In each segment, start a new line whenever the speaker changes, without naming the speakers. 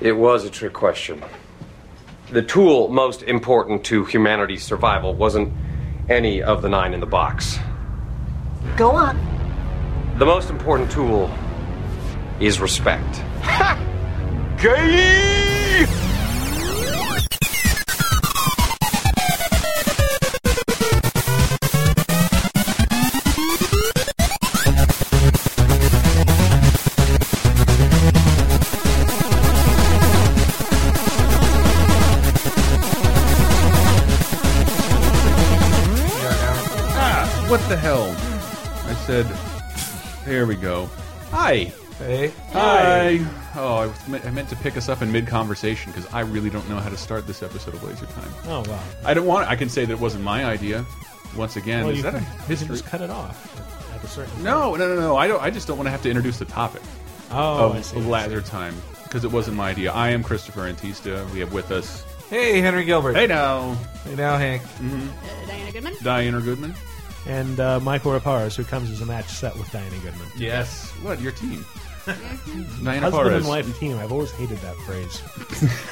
It was a trick question. The tool most important to humanity's survival wasn't any of the nine in the box.
Go on.
The most important tool is respect.
Gay!
Ah, what the hell? I said, there we go. Hi.
Hey.
Hi. Oh, I, was, me- I meant to pick us up in mid conversation because I really don't know how to start this episode of Laser Time.
Oh wow.
I don't want. I can say that it wasn't my idea. Once again,
well,
is
you,
that a
can, you can
history?
just cut it off at a certain.
No, no, no, no. I don't. I just don't want to have to introduce the topic
Oh, I
of
see. I see.
Laser Time because it wasn't my idea. I am Christopher Antista. We have with us.
Hey, Henry Gilbert.
Hey now,
Hey now, Hank.
Diana Goodman.
Diana Goodman.
And uh, Michael Raparez, who comes as a match set with Diana Goodman.
Yes. What your team? Diana
Husband
Perez.
and wife team. I've always hated that phrase.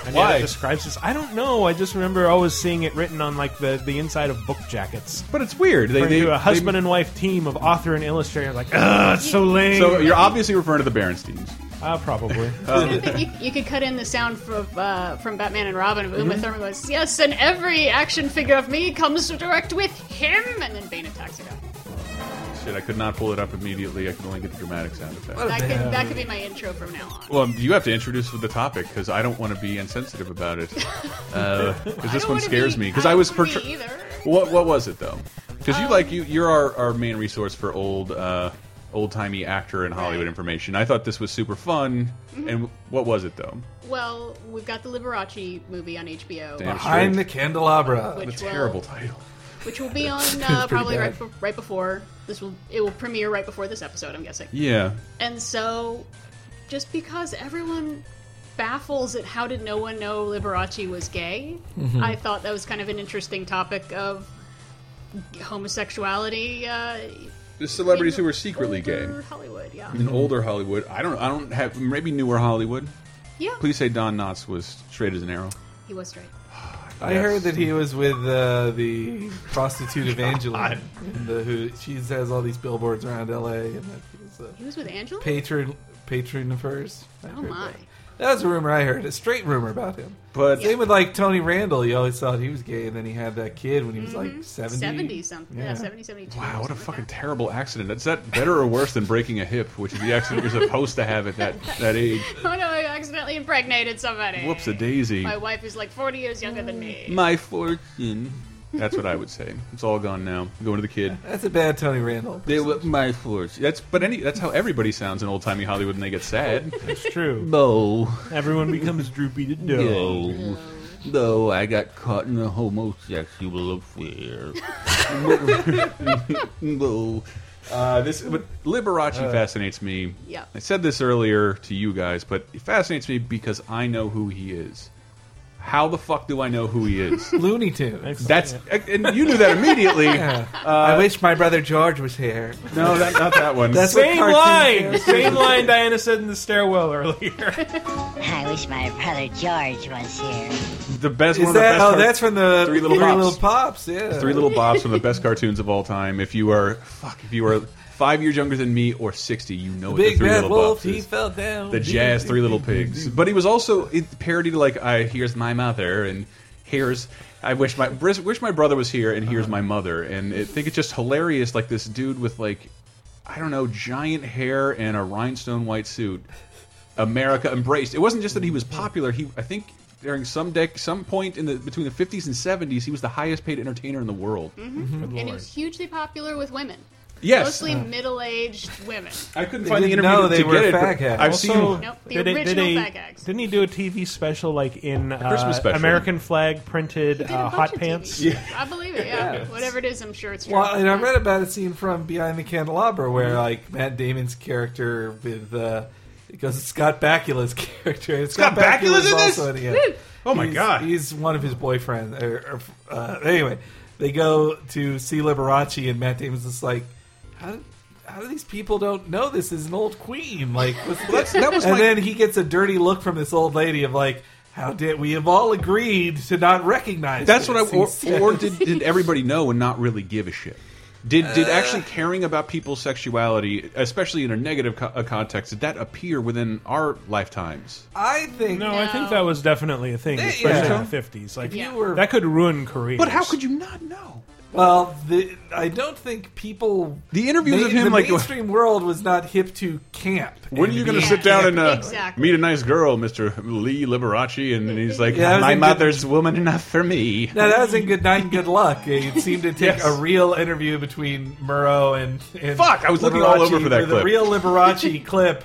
And yet
Why?
It describes this. I don't know. I just remember always seeing it written on like the, the inside of book jackets.
But it's weird. They,
Referring
they
to a husband
they-
and wife team of author and illustrator. I'm Like, ugh, it's so lame.
So you're obviously referring to the Berensteins.
uh, probably.
you, you could cut in the sound from uh, from Batman and Robin of
Mm-hmm.
Uma Thurman goes, "Yes, and every action figure of me comes direct with him," and then Bane attacks her.
Shit, I could not pull it up immediately. I can only get the dramatic sound effect.
That could that could be my intro from now on.
Oh, Well, um, you have to introduce the topic because I don't want to be insensitive about it. Because
I
this
don't
one
wanna
scares
be-
me. Because
I
I
don't
was
wanna be
portray-
either. Um,
What What was it though? Because you like you you're our, our main resource for old uh, old timey actor and Hollywood
Right. Mm-hmm.
information. I thought this was super fun. And what was it though?
Well, we've got the Liberace movie on HBO,
Damn
I'm
straight.
the candelabra.
which
What a
will
terrible title.
which will be on uh, probably right,
bad.
be- right before this will it will premiere right before this episode. I'm guessing.
Yeah.
And so, just because everyone baffles at how did no one know Liberace was gay,
Mm-hmm.
I thought that was kind of an interesting topic of homosexuality. Uh,
The celebrities
in
who were secretly gay. Mm-hmm.
older Hollywood, yeah,
In older Hollywood, I don't I don't have maybe newer Hollywood.
yeah.
Please say Don Knotts was straight as an arrow.
He was straight.
I
Yes.
heard that he was with uh, the prostitute Evangeline, and the, who she has all these billboards around LA, and that he was a
He was with Angela.
patron patron of hers. I
Oh
heard
my.
That. that was a rumor I heard, a straight rumor about him.
But
Same with like Tony Randall, you always thought he was gay, and then he had that kid when he was
Mm-hmm.
like 70.
70 something. Yeah, 70, 72.
wow, what a fucking
something
terrible accident! Is that better or worse than breaking a hip, which is the accident you're supposed to have at that that age?
like that. Oh no, I accidentally impregnated somebody.
Whoops a daisy.
My wife is like 40 years younger than me.
My fortune. That's what I would say. It's all gone now. Going to the kid.
That's a bad Tony Randall.
They were my fortune. That's but any. That's how everybody sounds in old timey Hollywood when they get sad.
It's true.
No,
Everyone becomes droopy to dough.
no, no. I got caught in a homosexual affair. no. Uh, this but Liberace
Uh,
fascinates me.
Yeah.
I said this earlier to you guys, but it fascinates me because I know who he is. How the fuck do I know who he is?
Looney Tunes.
Excellent.
That's and you knew that immediately.
Yeah.
Uh,
I wish my brother George was here.
No, that, not that one.
That's
Same
what cartoon
line!
characters-
Same line Diana said in the stairwell earlier.
I wish my brother George was here.
the best one.
Is
of the
that?
best
Oh,
car-
that's from the
Three Little Pops.
Pops, Yeah.
Three Little Bobs, one of the best cartoons of all time. If you are fuck, if you are five years younger than me or sixty, you know what the
Big
Three
Bad
Little
Wolf.
Bobs
He
is.
fell down.
The jazz Three Little Pigs, but he was also it parodied like I here's my mother and here's I wish my bris- wish my brother was here and here's my mother and I think it's just hilarious like this dude with like I don't know giant hair and a rhinestone white suit America embraced. It wasn't just that he was popular. He, I think, during some dec some point in the between the fifties and seventies, he was the highest paid entertainer in the world. Mm.
Mm-hmm.
And he was hugely popular with women.
Yes,
Mostly middle-aged women.
I couldn't
They
find the
didn't
interview
know
to
they were
get it. but
fag hats.
I've
Also,
seen.
Nope, the
did a- did
original
a-
fag ags.
Didn't he do a TV special like in uh,
Christmas special.
American flag printed
They did a
uh,
bunch
hot
of
pants?
TV. I believe it. Yeah, whatever it is, I'm sure it's true.
Well, and I read about a scene from Behind the Candelabra
Mm-hmm.
where, like, Matt Damon's character with, uh, because it's Scott Bakula's character. And
Scott Bakula's in this?
in it, yeah.
Oh, my
He's-
God.
He's one of his boyfriends. Or, or, uh, anyway, they go to see Liberace, and Matt Damon's just like, how, how do these people don't know this is an old queen? Like, what's
that's- that was
and
my-
then he gets a dirty look from this old lady of like, how did we have all agreed to not recognize?
That's what
this,
I. Or,
he
or
says.
did, did everybody know and not really give a shit? Did did actually caring about people's sexuality, especially in a negative co uh, context, did that appear within our lifetimes?
I think
No, I think
No.
that was definitely a thing,
Yeah.
especially in the fifties. Like
you were-
that could ruin careers.
But how could you not know?
Well, the, I don't think people.
The interviews of him,
the
like,
mainstream world was not hip to camp.
When are you going to
Yeah.
sit down and uh,
Exactly.
meet a nice girl, Mister Lee Liberace? And, he's like,
Yeah, that was
"My
a good-
mother's woman enough for me."
Now that was in Good Night and Good Luck. It seemed to take
Yes.
a real interview between Murrow and, and
Fuck, I was looking all
Liberace
over for that
The
clip. Mm-hmm.
real Liberace clip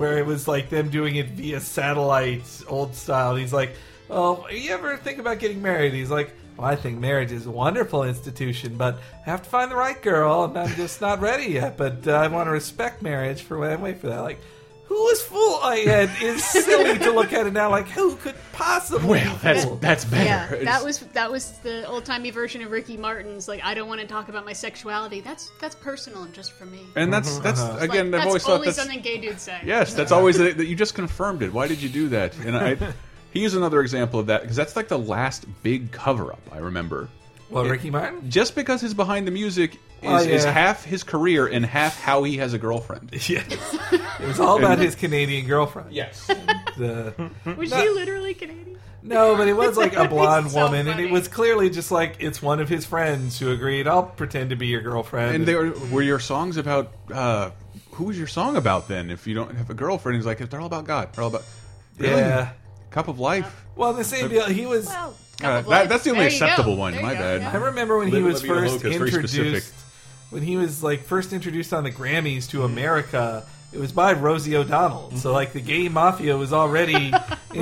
where it was like them doing it via satellite, old style. And he's like, "Oh, you ever think about getting married?" He's like. Well, I think marriage is a wonderful institution, but I have to find the right girl, and I'm just not ready yet. But uh, I want to respect marriage for when I wait for that. Like, who is fool? I had is silly to look at it now. Like, who could possibly?
Well,
be
that's
fooled?
that's better.
Yeah, that
It's-
was that was the old timey version of Ricky Martin's. Like, I don't want to talk about my sexuality. That's that's personal and just for me.
and that's that's
Like,
again.
that's
I've always thought
always
that's
something gay dudes say.
Yes, that's always that you just confirmed it. Why did you do that? And I, here's another example of that because that's like the last big cover up I remember.
well, Ricky Martin.
Just because he's behind the music is,
Oh, yeah.
is half his career and half how he has a girlfriend.
Yes. it was all about his Canadian girlfriend.
Yes,
The-
Was she literally Canadian?
no, but it was like a blonde
So
woman, and
funny.
it was clearly just like it's one of his friends who agreed, I'll pretend to be your girlfriend.
and they were, were your songs about uh, who was your song about then? If you don't have a girlfriend, he's like they're all about God. They're all about really?
Yeah.
cup of life.
Well, the same deal. He was.
Well,
Uh,
Oh, couple
that-
of
that's the only
lives. There you go.
acceptable one,
There
my
you go,
bad.
yeah.
I remember when he
Live,
was
let me alone,
first
'cause very specific.
introduced. When he was like first introduced on the Grammys to America, it was by Rosie O'Donnell. So like the gay mafia was already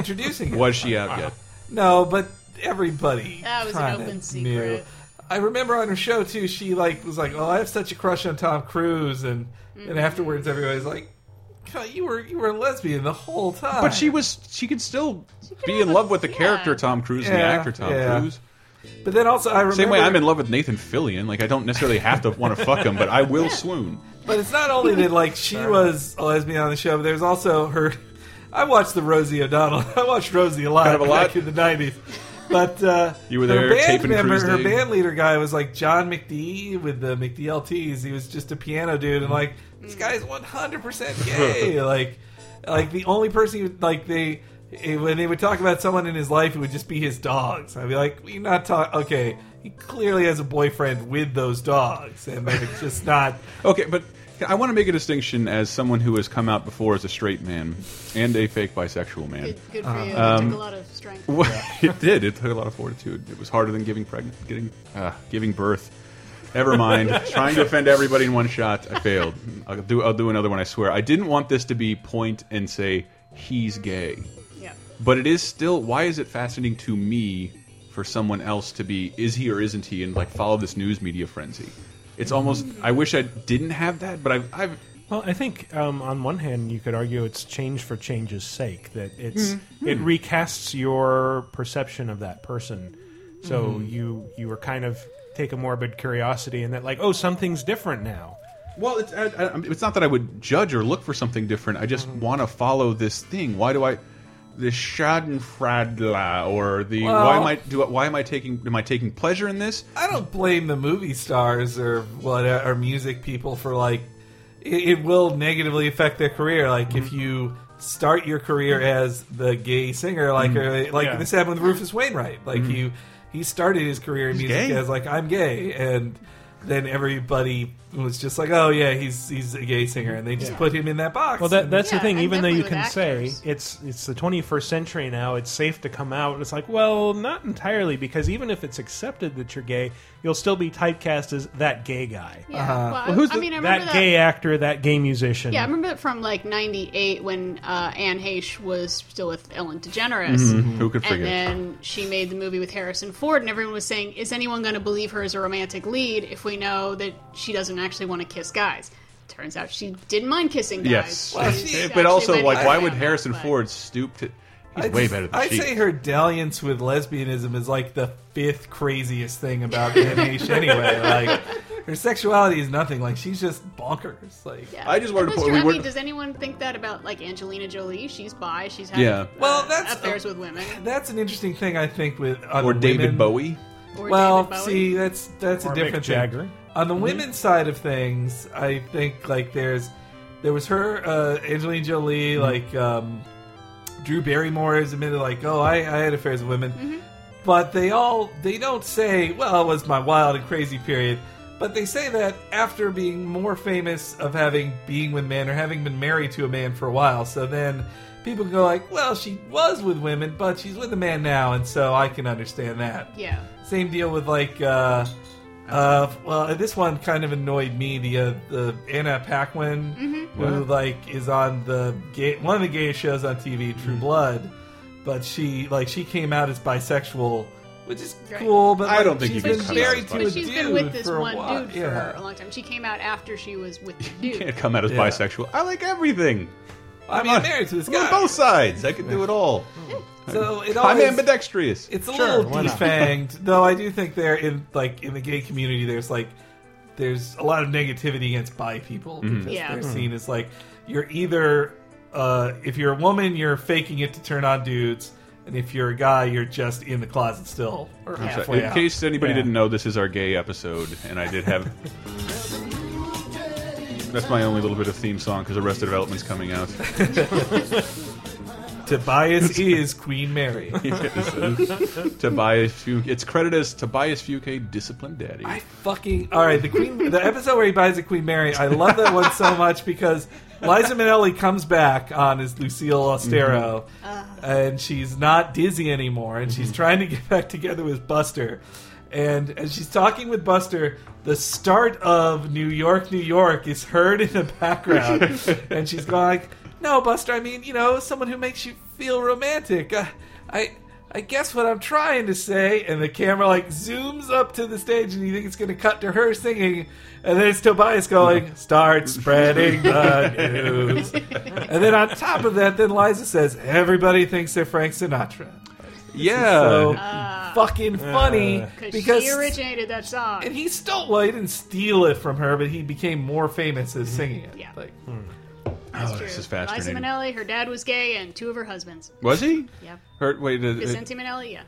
introducing him.
Was she out yet?
No, but everybody
That was an
kinda
open secret.
knew. I remember on her show too. She like was like, "Oh, I have such a crush on Tom Cruise," and
Mm-hmm.
and afterwards everybody's like, God, "You were you were a lesbian the whole time."
But she was. She could still be
have
in love
a-
with the
yeah.
character Tom Cruise and the
Yeah,
actor Tom
yeah.
Cruise.
But then also I remember.
Same way I'm in love with Nathan Fillion. Like I don't necessarily have to want to fuck him, but I will swoon.
But it's not only that like she was a lesbian on the show, but there's also her. I watched the Rosie O'Donnell. I watched Rosie a lot,
Kind of a lot.
back in the '90s. But uh,
You were
her
there
band
taping
member,
Cruise
her
Day.
band leader guy was like John McDee with the McDLTs. He was just a piano dude, and like
Mm.
this guy's 100 percent gay. like, like the only person who, like they eh, when they would talk about someone in his life, it would just be his dogs. I'd be like, we are not talk. Okay, he clearly has a boyfriend with those dogs, and like, it's just not.
Okay, but I want to make a distinction as someone who has come out before as a straight man and a fake bisexual man.
Good, good for
Uh,
you. It
um,
took a lot of strength.
Well, it did. It took a lot of fortitude. It was harder than giving pregnant, getting, uh, giving birth. Never mind. Trying to offend everybody in one shot, I failed. I'll do. I'll do another one. I swear. I didn't want this to be point and say he's gay.
Yeah.
But it is still why is it fascinating to me for someone else to be is he or isn't he and like follow this news media frenzy? It's almost I wish I didn't have that, but I've, I've
Well, I think um, on one hand you could argue it's change for change's sake that
Hmm.
it's it recasts your perception of that person. So you you were kind of take a morbid curiosity and that like oh something's different now.
well, it's I, I, it's not that I would judge or look for something different. I
Mm-hmm.
just want to follow this thing. Why do I? The Schadenfreude, or the why am I do I- why am I taking am I taking pleasure in this?
I don't blame the movie stars or what or music people for like it, it will negatively affect their career. Like if you start your career as the gay singer, like or, like
Yeah.
this happened with Rufus Wainwright. Like you, he started his career in music
gay.
as like I'm gay, and then everybody was just like, oh yeah, he's he's a gay singer, and they just put him in that box.
Well, that,
And-
that's the
Yeah,
thing.
and
Even though you can
definitely with actors.
say it's it's the 21st century now, it's safe to come out. It's like, well, not entirely, because even if it's accepted that you're gay, you'll still be typecast as that gay guy,
Yeah. Well, I-
who's
I
the-
mean, I remember
that
that.
gay actor, that gay musician.
yeah, I remember that from like '98 when uh, Anne Heche was still with Ellen DeGeneres,
Um,
Who could
and
forget?
then she made the movie with Harrison Ford, and everyone was saying, "Is anyone going to believe her as a romantic lead if we know that she doesn't actually want to kiss guys?" Turns out she didn't mind kissing guys.
yes,
She was
but
actually
also
went
like why
down
would
on
Harrison
that, but-
Ford stoop to? He's
I
way
just-
better than
I'd
she.
say her dalliance with lesbianism is like the fifth craziest thing about Anne Heche anyway. Like her sexuality is nothing. Like she's just bonkers. Like
Yeah.
I just wanted
That
to point-
was true.
we
I
were-
mean, does anyone think that about like Angelina Jolie? She's bi. She's had
Yeah.
uh,
Well, that's-
affairs with women.
that's an interesting thing I think with on
or
women.
David Bowie.
Or
Well,
David Bowie.
see, that's that's
Or
a
Mick
different thing.
Jagger. Mm-hmm.
On the women's side of things, I think like there's there was her uh, Angelina Jolie,
Mm-hmm.
like um, Drew Barrymore has admitted like, oh, I, I had affairs with women,
Mm-hmm.
but they all they don't say, well, it was my wild and crazy period. But they say that after being more famous of having being with men or having been married to a man for a while, so then people go like, well, she was with women, but she's with a man now, and so I can understand that.
yeah.
Same deal with like, uh, uh, well, this one kind of annoyed me. The uh, the Anna Paquin,
Mm-hmm.
who like is on the gay, one of the gayest shows on TV,
Mm-hmm.
True Blood, but she like she came out as bisexual, which is
Right.
cool. But
I
like,
don't think
she's
you can
been
come out
married
as
to
bisexual.
a
But she's
dude
been with this
for a
one
while.
dude for
yeah.
a long time. She came out after she was with the
You can't
dude.
come out as
Yeah.
bisexual. I like everything.
I mean, married to this
I'm on
guy.
both sides. I can do it all.
So it
I'm
always,
ambidextrous.
It's a
Sure,
little
why not?
defanged, though. I do think there in like in the gay community, there's like there's a lot of negativity against bi people
Mm-hmm.
because
Yeah.
they're seen as like you're either uh, if you're a woman, you're faking it to turn on dudes, and if you're a guy, you're just in the closet still or halfway
In
out.
case anybody
Yeah.
didn't know, this is our gay episode, and I did have. That's my only little bit of theme song because Arrested Development's coming out.
Tobias is Queen Mary.
Tobias Fuke. It's credited as Tobias Fuke, Discipline Daddy.
I fucking all right. The Queen, the episode where he buys a Queen Mary. I love that one so much because Liza Minnelli comes back on as Lucille Ostero, and she's not dizzy anymore, and she's trying to get back together with Buster. And as she's talking with Buster, the start of New York, New York is heard in the background, and she's going like, "No, Buster. I mean, you know, someone who makes you feel romantic. Uh, I." I guess what I'm trying to say, and the camera like zooms up to the stage, and you think it's going to cut to her singing, and then it's Tobias going, "Start spreading the news," and then on top of that, then Liza says, "Everybody thinks they're Frank Sinatra."
yeah.
So fucking funny
Because
because
Uh, she originated that song.
and he stole well, he didn't steal it from her, but he became more famous as singing it.
Mm-hmm. Yeah. Hmm.
Like,
oh,
True.
this is
Liza
fascinating.
Minnelli, her dad was gay, and two of her husbands.
Was he?
Yep.
Hurt, wait, uh,
Vicente Minnelli, yeah.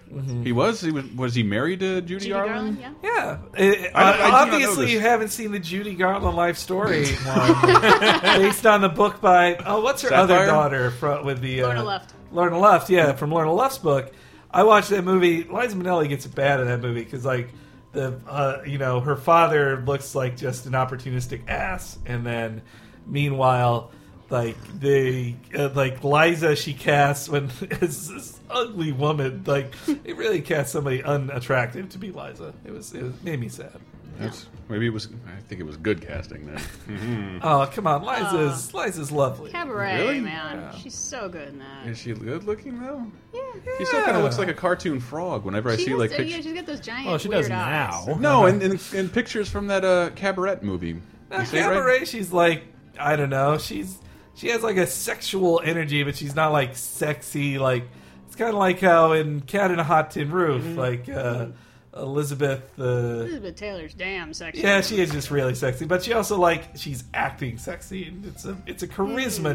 he was? He was? Was he married to Judy,
Judy Garland, yeah.
Yeah, It-
I- I did not know
obviously
this.
you haven't seen the Judy Garland life story one, based on the book by oh, what's her other
Sapphire?
daughter from, with the uh,
Lorna Luft.
Lorna Luft, yeah, from Lorna Luft's book. I watched that movie. Liza Minnelli gets it bad in that movie because like the uh, you know her father looks like just an opportunistic ass, and then meanwhile. Like the uh, like Liza, she casts when is this ugly woman. Like it really cast somebody unattractive to be Liza. It was it was, made me sad.
That's, maybe it was. I think it was good casting then.
Oh come on, Liza's Liza's lovely.
Cabaret,
Really?
man. She's so good in that.
Is she good looking though?
Yeah.
She still kind of looks like a cartoon frog whenever I
She
see
has,
like
uh, yeah,
pictures.
she's got those giant
Well, Oh, she
weird
does
eyes.
now.
No, and, and, and pictures from that uh, cabaret movie.
Uh,
You say it right?
Cabaret, she's like I don't know. She's she has like a sexual energy, but she's not like sexy. Like it's kind of like how in Cat in a Hot Tin Roof,
Mm-hmm.
like uh, Elizabeth. Uh,
Elizabeth Taylor's damn sexy.
yeah, she is just really sexy, but she also like she's acting sexy, and it's a it's a charisma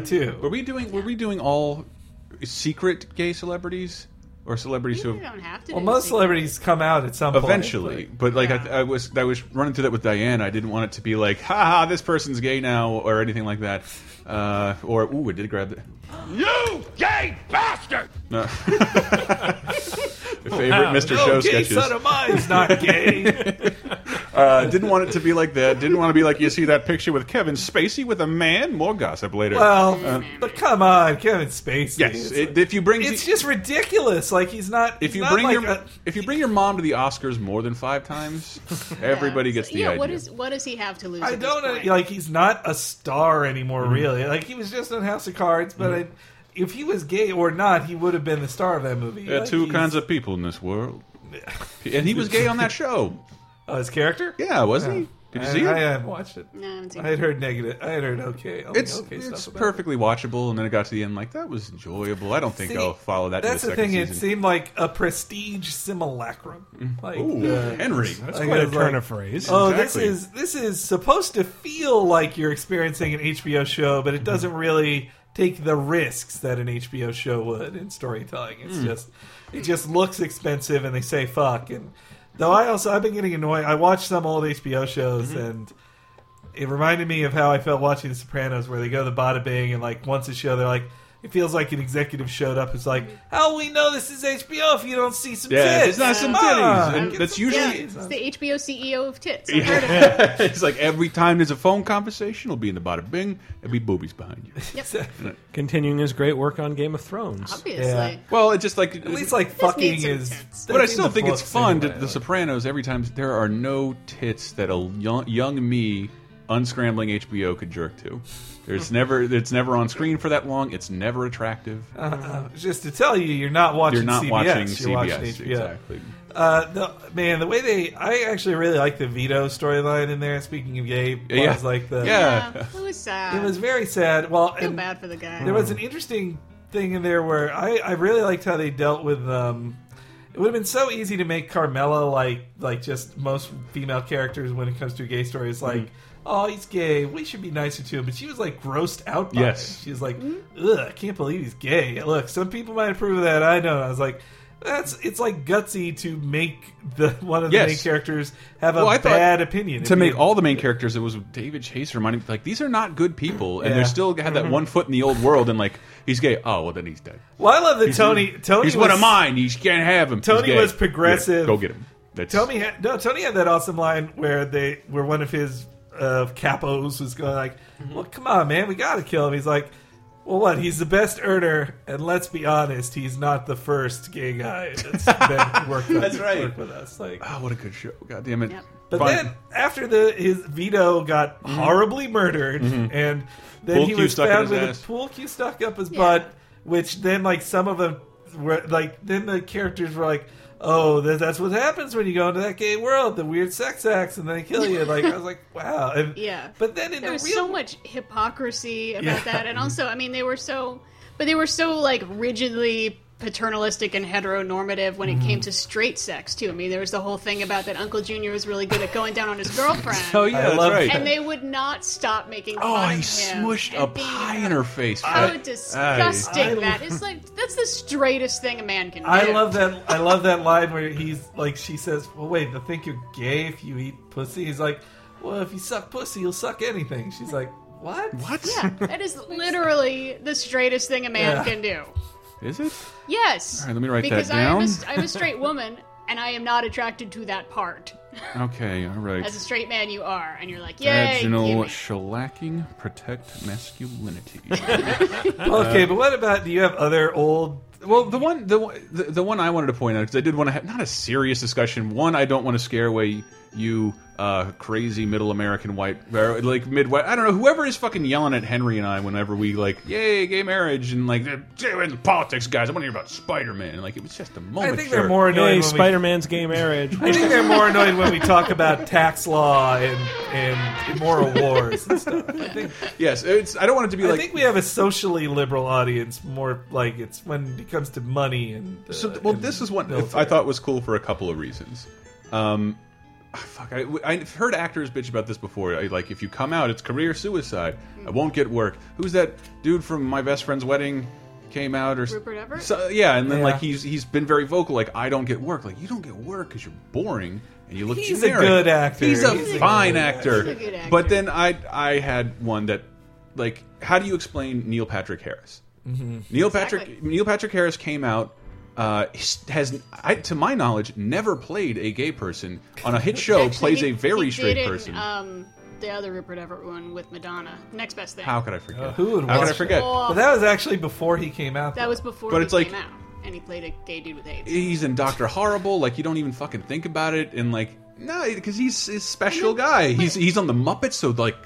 Were
too.
we doing? Were we doing all secret gay celebrities or celebrities
You
who?
don't have to.
Well,
do
most
secret.
celebrities come out at some point.
Eventually, but like
Yeah.
I, I was, I was running through that with Diane. I didn't want it to be like, "Ha ha, this person's gay now" or anything like that. Uh, or ooh, it did grab the
You gay bastard!
no. favorite Mr.
No,
Show
gay
sketches.
son of mine's not gay.
Uh, didn't want it to be like that. Didn't want to be like you see that picture with Kevin Spacey with a man. More gossip later.
well,
Mm-hmm.
but come on, Kevin Spacey.
yes,
It's
it- if you bring
It's just ridiculous. Like he's not.
if
he's
you
not
bring
like
your
a-
if you bring your mom to the Oscars more than five times, everybody gets the
yeah,
idea.
what is what does he have to lose?
I
at this
don't
point?
know, like. He's not a star anymore,
Mm-hmm.
really. Like he was just on House of Cards, but I, if he was gay or not, he would have been the star of that movie.
there are
Like,
two
he's-
kinds of people in this world, and he was gay on that show.
oh, his character.
Yeah, wasn't he? Did you
I,
see it?
I haven't watched it.
No, I haven't seen
I had heard negative. I had heard okay. only
It's
okay
it's
stuff about it.
perfectly watchable, and then it got to the end like that was enjoyable. I don't think
See,
I'll follow that.
That's
to the,
the
second
thing. It
Season.
seemed like a prestige simulacrum. Like,
Mm-hmm. Ooh,
uh,
Henry, that's
like,
quite
I
a
was
turn
like,
of phrase.
Oh,
Exactly.
this is this is supposed to feel like you're experiencing an HBO show,
Mm-hmm.
but it doesn't really take the risks that an HBO show would in storytelling. It's
Mm.
just it just looks expensive, and they say fuck. And though I also I've been getting annoyed. I watched some old HBO shows
Mm-hmm.
and. It reminded me of how I felt watching The Sopranos, where they go to the bada bing, and like once a show, they're like, it feels like an executive showed up who's like, "How will we know this is HBO if you don't see some
Mm-hmm. Yeah,
tits?"
there's not some
Come on,
titties, and
get
that's
some
usually-
titties."
It's the HBO CEO E of tits. I've heard of it.
Yeah. it's like every time there's a phone conversation, it'll be in the bottom bing, it'll be boobies behind you.
Continuing his great work on Game of Thrones.
Obviously.
Yeah.
Well, it's just like
At least like
need
fucking
some
is.
tits.
But I
that's in
still
the
think it's
books
fun.
anyway.
that The Sopranos. Every time there are no tits that a young, young me unscrambling HBO could jerk to. There's never. It's never on screen for that long. It's never attractive.
Uh, Just to tell you, you're not watching.
You're not
CBS,
watching
You're
CBS.
watching HBO.
Exactly.
Uh, the, man, the way they, I actually really like the Vito storyline in there. Speaking of gay,
Yeah.
was like the.
Yeah.
Yeah, it was sad.
It was very sad. Well,
I feel
and
bad for the guy.
there
Hmm.
was an interesting thing in there where I, I really liked how they dealt with. Um, it would have been so easy to make Carmela like like just most female characters when it comes to gay
Hmm.
stories like. Oh, he's gay. We should be nicer to him. But she was like grossed out by
Yes.
it. She was like, "Ugh, I can't believe he's gay." Look, some people might approve of that. I don't. I was like, "That's it's like gutsy to make the one of the
Yes.
main characters have a
Well, I thought-
bad opinion
to
It'd
make
be-
all the main characters, it was David Chase reminding me like these are not good people, and
Yeah. Mm-hmm.
they're still had that one foot in the old world, and like he's gay. Oh well, then he's dead.
Well, I love that Tony. Tony
he's one
was-
of mine. You can't have him. He's
Tony
gay.
was progressive.
Yeah, go get him. That's
Tony had no. Tony had that awesome line where they where one of his uh, capos was going like,
Mm-hmm.
"Well, come on, man, we got to kill him." He's like, "Well, what? He's the best earner, and let's be honest, he's not the first gay guy that's been worked with,
That's right.
worked with us." Like,
Oh, what a good show! God damn it!
Yep.
but
Fine. Mm-hmm.
then after the his Vito got horribly murdered, and then
Pool
he
cue
was
stuck in
found
his
with
ass.
a pool cue stuck up his
Yeah.
butt, which then like some of them were like then the characters were like, oh, that, that's what happens when you go into that gay world, the weird sex acts, and they kill you. Like I was like, wow, and,
Yeah.
But then in
there
the real
was so much hypocrisy about
Yeah.
that and also i mean they were so but they were so like rigidly paternalistic and heteronormative when
Mm-hmm.
it came to straight sex too i mean there was the whole thing about that uncle junior was really good at going down on his girlfriend
Oh yeah,
I
that's
love
right.
that.
and they would not stop making fun
oh,
of
he
him
smushed a
and being-
pie in her face.
how
Aye.
disgusting
I-
that is like that's the straightest thing a man can do
I love that. I love that line where he's like, she says, "Well, wait, they think you're gay if you eat pussy." He's like, "Well, if you suck pussy, you'll suck anything." She's like, "What?
What? Is
yeah that is literally the straightest thing a man
Yeah.
can do
it?
Yes.
All right, let me write that
because
down.
Because I, am a straight woman, and I am not attracted to that part.
Okay, all right.
As a straight man, you are, and you're like, yay.
Vaginal
gimme."
shellacking protect masculinity.
Okay, but what about? Do you have other old?
Well, the one the one- the, the one I wanted to point out because I did want to have not a serious discussion. One, I don't want to scare away you uh, crazy middle American white or, like Midwest. I don't know whoever is fucking yelling at Henry and I whenever we like yay gay marriage and like "Get in the politics guys. I want to hear about Spider Man. Like it was just a moment.
I think
sure.
they're more annoyed.
Hey,
when
Spider Man's gay marriage.
We, I think they're more annoyed when we talk about tax law and and immoral wars and stuff. I think,
Yes, it's. I don't want it to be
I
like.
think we have a socially liberal audience. More like it's when it comes to money and. Uh,
So, th- well,
and
this is one
military.
I thought was cool for a couple of reasons. Um, ah, fuck, I, have heard actors bitch about this before. I- Like, if you come out, it's career suicide.
Hmm.
I won't get work. Who's that dude from my best friend's wedding? Came out or s-
Rupert Everett?
So, yeah, and then
Yeah.
like he's he's been very vocal. Like, I don't get work. Like, you don't get work because you're boring and you look.
He's a
generic.
good actor.
He's a
He's a
fine
good
actor.
He's a good actor.
But then I I had one that like how do you explain Neil Patrick Harris? Neil Patrick
Exactly.
Neil Patrick Harris came out. Uh, has I, to my knowledge never played a gay person on a hit show.
Actually,
plays
he-
a very
he
straight
did in,
person.
Um, the other Rupert Everett one with Madonna. Next best thing.
How could I forget?
Uh, who would
How could I
watch
forget?
Oh.
But that was actually before he came out.
that
though.
was before
But
he
it's like-
came out, and he played a gay dude with AIDS.
He's in Doctor Horrible. Like you don't even fucking think about it. And like no, because he's a special guy. He's he's on the Muppets, so like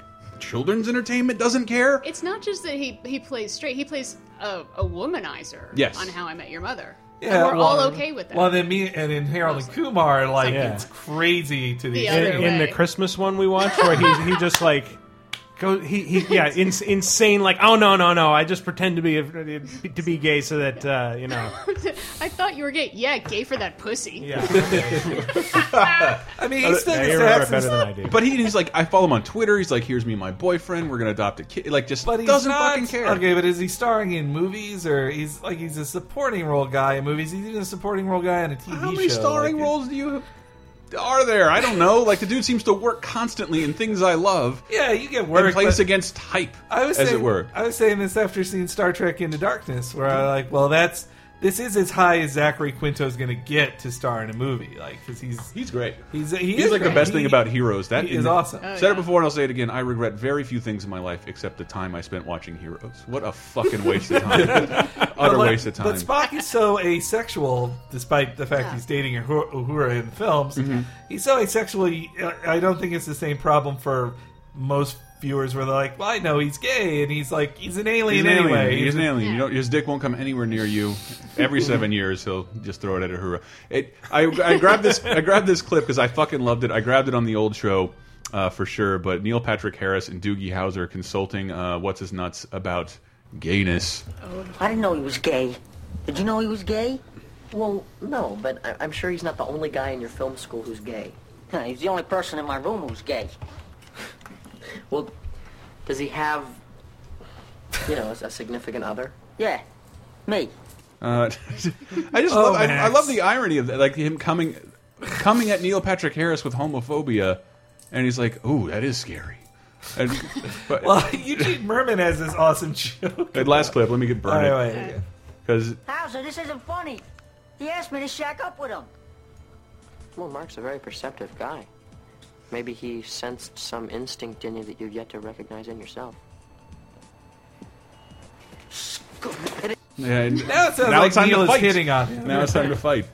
children's entertainment doesn't care.
It's not just that he he plays straight; he plays a, a womanizer.
Yes.
On How I Met Your Mother.
Yeah,
we're all
well,
okay with that.
Well, then me and in Harold and Kumar, like
Yeah.
it's crazy to the
The
extent.
other
in, in the
way.
Christmas one we watched, where he he just like go he, he yeah in, insane like oh no no no I just pretend to be to be gay so that uh, you know
I thought you were gay. Yeah, gay for that pussy.
yeah,
I mean, he still
yeah
gets
you
to
remember
have
it
some
better than I do.
But he, he's like, I follow him on Twitter. He's like, here's me and my boyfriend. We're gonna adopt a kid. Like, just
But he's
doesn't
not-
fucking care.
Okay, but is he starring in movies or he's like he's a supporting role guy in movies? He's even a supporting role guy on a TV
How many
show.
starring
Like,
roles do you are there? I don't know. Like the dude seems to work constantly in things I love.
Yeah, you get
and
work.
plays
but
against type,
I was
as
saying,
it were.
I was saying this after seeing Star Trek Into Darkness, where I like, well, that's this is as high as Zachary Quinto's going to get to star in a movie, like because he's
He's great.
he's he
He's
is
like the
great.
best
He-
thing about Heroes. That
he is awesome. Oh,
said it before and I'll say it again. I regret very few things in my life except the time I spent watching Heroes. What a fucking waste of time. Utter
like-
waste of time.
But Spock is so asexual, despite the fact he's dating Uhura Uhura in films.
Mm-hmm.
He's so asexual. he- uh, I don't think it's the same problem for most viewers, where they're like, "Well, I know he's gay, and he's like, he's an
He's
alien
an alien.
anyway."
He's an alien. You don't, his dick won't come anywhere near you. Every seven years, he'll just throw it at Uhura. It, I, I grabbed this. I grabbed this clip because I fucking loved it. I grabbed it on the old show uh, for sure. But Neil Patrick Harris and Doogie Howser consulting uh, what's his nuts about gayness.
I didn't know he was gay. Did you know he was gay? Well, no, but I- I'm sure he's not the only guy in your film school who's gay.
Huh, He's the only person in my room who's gay.
Well, does he have, you know, a significant other?
Yeah, me.
Uh, I just love. I, I
Oh, Max.
love the irony of that, like him coming, coming at Neil Patrick Harris with homophobia, and he's like, "Ooh, that is scary." And, but,
Well, Eugene Merman has this awesome joke.
that last clip, let me get burned.
Anyway,
because
Hauser, this isn't funny. He asked me to shack up with him.
Well, Mark's a very perceptive guy. Maybe he sensed some instinct in you that you've yet to recognize in yourself.
now it sounds like Neil is hitting on him.
Now it's time to fight.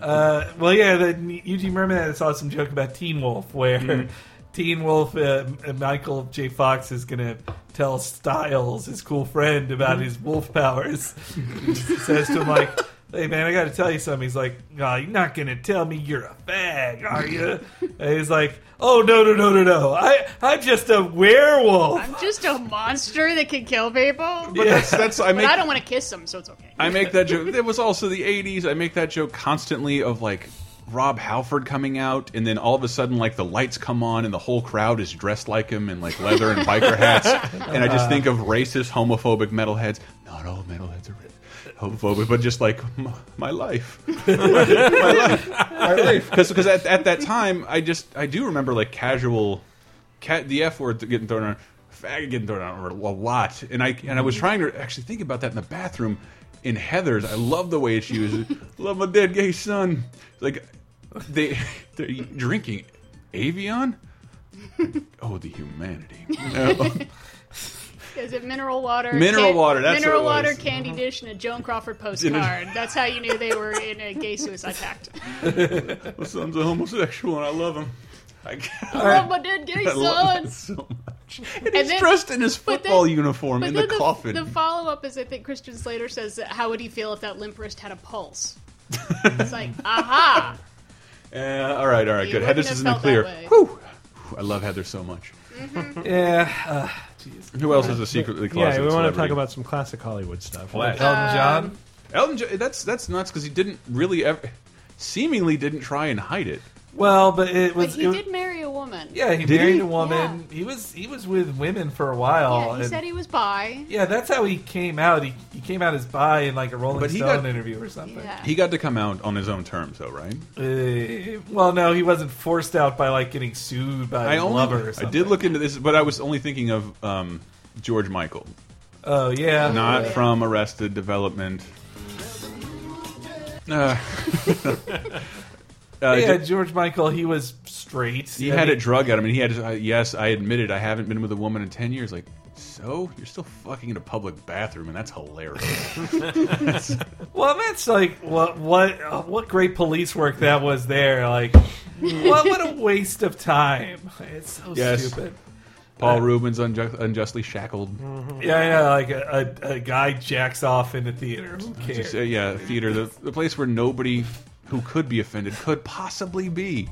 Uh, well, yeah, the, Eugene Merman had this awesome joke about Teen Wolf, where Teen Wolf, uh, M- Michael J. Fox is going to tell Styles, his cool friend, about his wolf powers. he says to him, like, hey, man, I got to tell you something. He's like, "Aw, you're not going to tell me you're a fag, are you? and he's like, oh, no, no, no, no, no. I, I'm just a werewolf.
I'm just a monster that can kill people. But,
But that's, that's I make
I don't want to kiss them, so it's okay.
I make that joke. It was also the '80s. I make that joke constantly of like Rob Halford coming out, and then all of a sudden like the lights come on, and the whole crowd is dressed like him in like leather and biker hats, and I just think of racist, homophobic metalheads. Not all metalheads are. ra- Homophobic, but just like m- my life, my life, my life. Because at, at that time, I just I do remember like casual cat the f word getting thrown around, faggot getting thrown around a lot, and I and I was trying to actually think about that in the bathroom. In Heather's, I love the way she was. love my dead gay son. Like they they're e, drinking Avion. Oh, the humanity!
Is it mineral water?
Mineral water, that's
mineral
what it
water,
was.
candy dish, and a Joan Crawford postcard. That's how you knew they were in a gay suicide pact.
My son's a homosexual, and I love him. I,
I love my dead gay
I love
son.
him so much. And,
And
he's
then-
dressed in his
but then-
football uniform
But
in the,
then the,
coffin.
the follow up is I think Christian Slater says that how would he feel if that limp wrist had a pulse? it's like aha.
Uh, all right, all right,
You
good.
wouldn't
Heather's
have
is in the
felt
clear.
that way.
Whew. I love Heather so much.
yeah. Uh,
Who else is a secretly closeted
yeah we want to talk
celebrity?
about some classic Hollywood stuff.
Flash.
Um,
Elton John?
Elton John, that's that's nuts because he didn't really ever, seemingly didn't try and hide it.
well, but it
But
was.
he
it-
did marry a woman.
yeah, he
Did
married
he?
a woman. He was he was with women for a while.
Yeah, he
and-
said he was bi.
Yeah, that's how he came out. He, he came out as bi in like a Rolling
But he
Stone
got-
interview or something.
Yeah.
He got to come out on his own terms, though, right?
Uh, well, no, he wasn't forced out by like getting sued by
I
his
only
lover or
I
something.
did look into this, but I was only thinking of um, George Michael,
Oh yeah,
not from Arrested Development. Uh, uh,
yeah.
ju-
George Michael, he was straight.
he
I
had
mean,
it drug at him, and he had. his, Uh, yes, I admitted I haven't been with a woman in ten years. Like, so you're still fucking in a public bathroom, and that's hilarious.
Well, that's like what what uh, what great police work that was there. Like, what what a waste of time. It's so
Yes.
stupid.
Paul Rubens unju unjustly shackled.
Yeah, yeah, like a, a, a guy jacks off in the theater. Who cares?
Just, uh, yeah, theater, the, the place where nobody who could be offended could possibly be.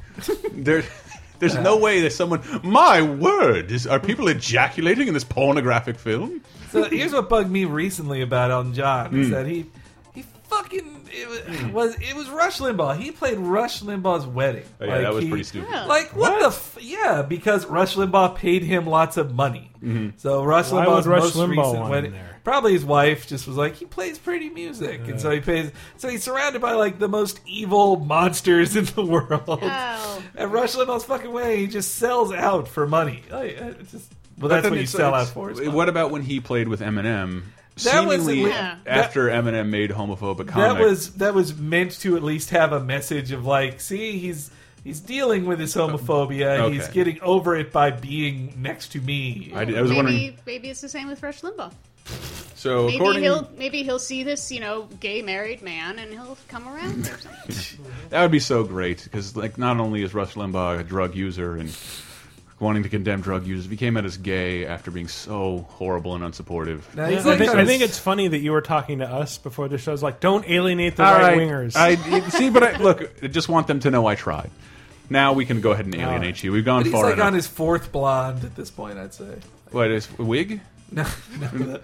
There, there's no way that someone. My word, is, are people ejaculating in this pornographic film?
So here's what bugged me recently about Elton John
Hmm.
is that he he fucking it was, was it was Rush Limbaugh. He played Rush Limbaugh's wedding.
Oh, yeah,
Like,
that was
he-
pretty stupid.
Yeah.
Like what, the f- yeah? Because Rush Limbaugh paid him lots of money.
Mm-hmm.
So Rush
Why
Limbaugh's
would Rush
most
Limbaugh want
recent
him
wedding,
there?
probably his wife just was like he plays pretty music, and so he pays. So he's surrounded by like the most evil monsters in the world.
Oh.
And Rush Limbaugh's fucking way, he just sells out for money. Like, it's just, well,
But
that's what
then
you
it's-
sell out
it's-
for. is money.
What about when he played with Eminem?
That was-
seemingly
yeah.
after Eminem made homophobic
that
comment.
was that was meant to at least have a message of like, see, he's he's dealing with his homophobia.
Okay.
He's getting over it by being next to me.
I, did- I was
maybe,
wondering.
Oh, maybe it's the same with Rush Limbaugh.
So
Maybe
according,
he'll maybe he'll see this, you know, gay married man and he'll come around or something.
that would be so great because like not only is Rush Limbaugh a drug user and wanting to condemn drug users, he came out as gay after being so horrible and unsupportive.
Now, he's
I
like
think,
kind
I
of-
think it's funny that you were talking to us before the show's like, don't alienate the
All
right
right.
wingers.
I see, but I, look, I just want them to know I tried. Now we can go ahead and alienate you. We've gone
But he's
far
like
enough.
on his fourth blonde at this point, I'd say.
what is wig?
No, no, the-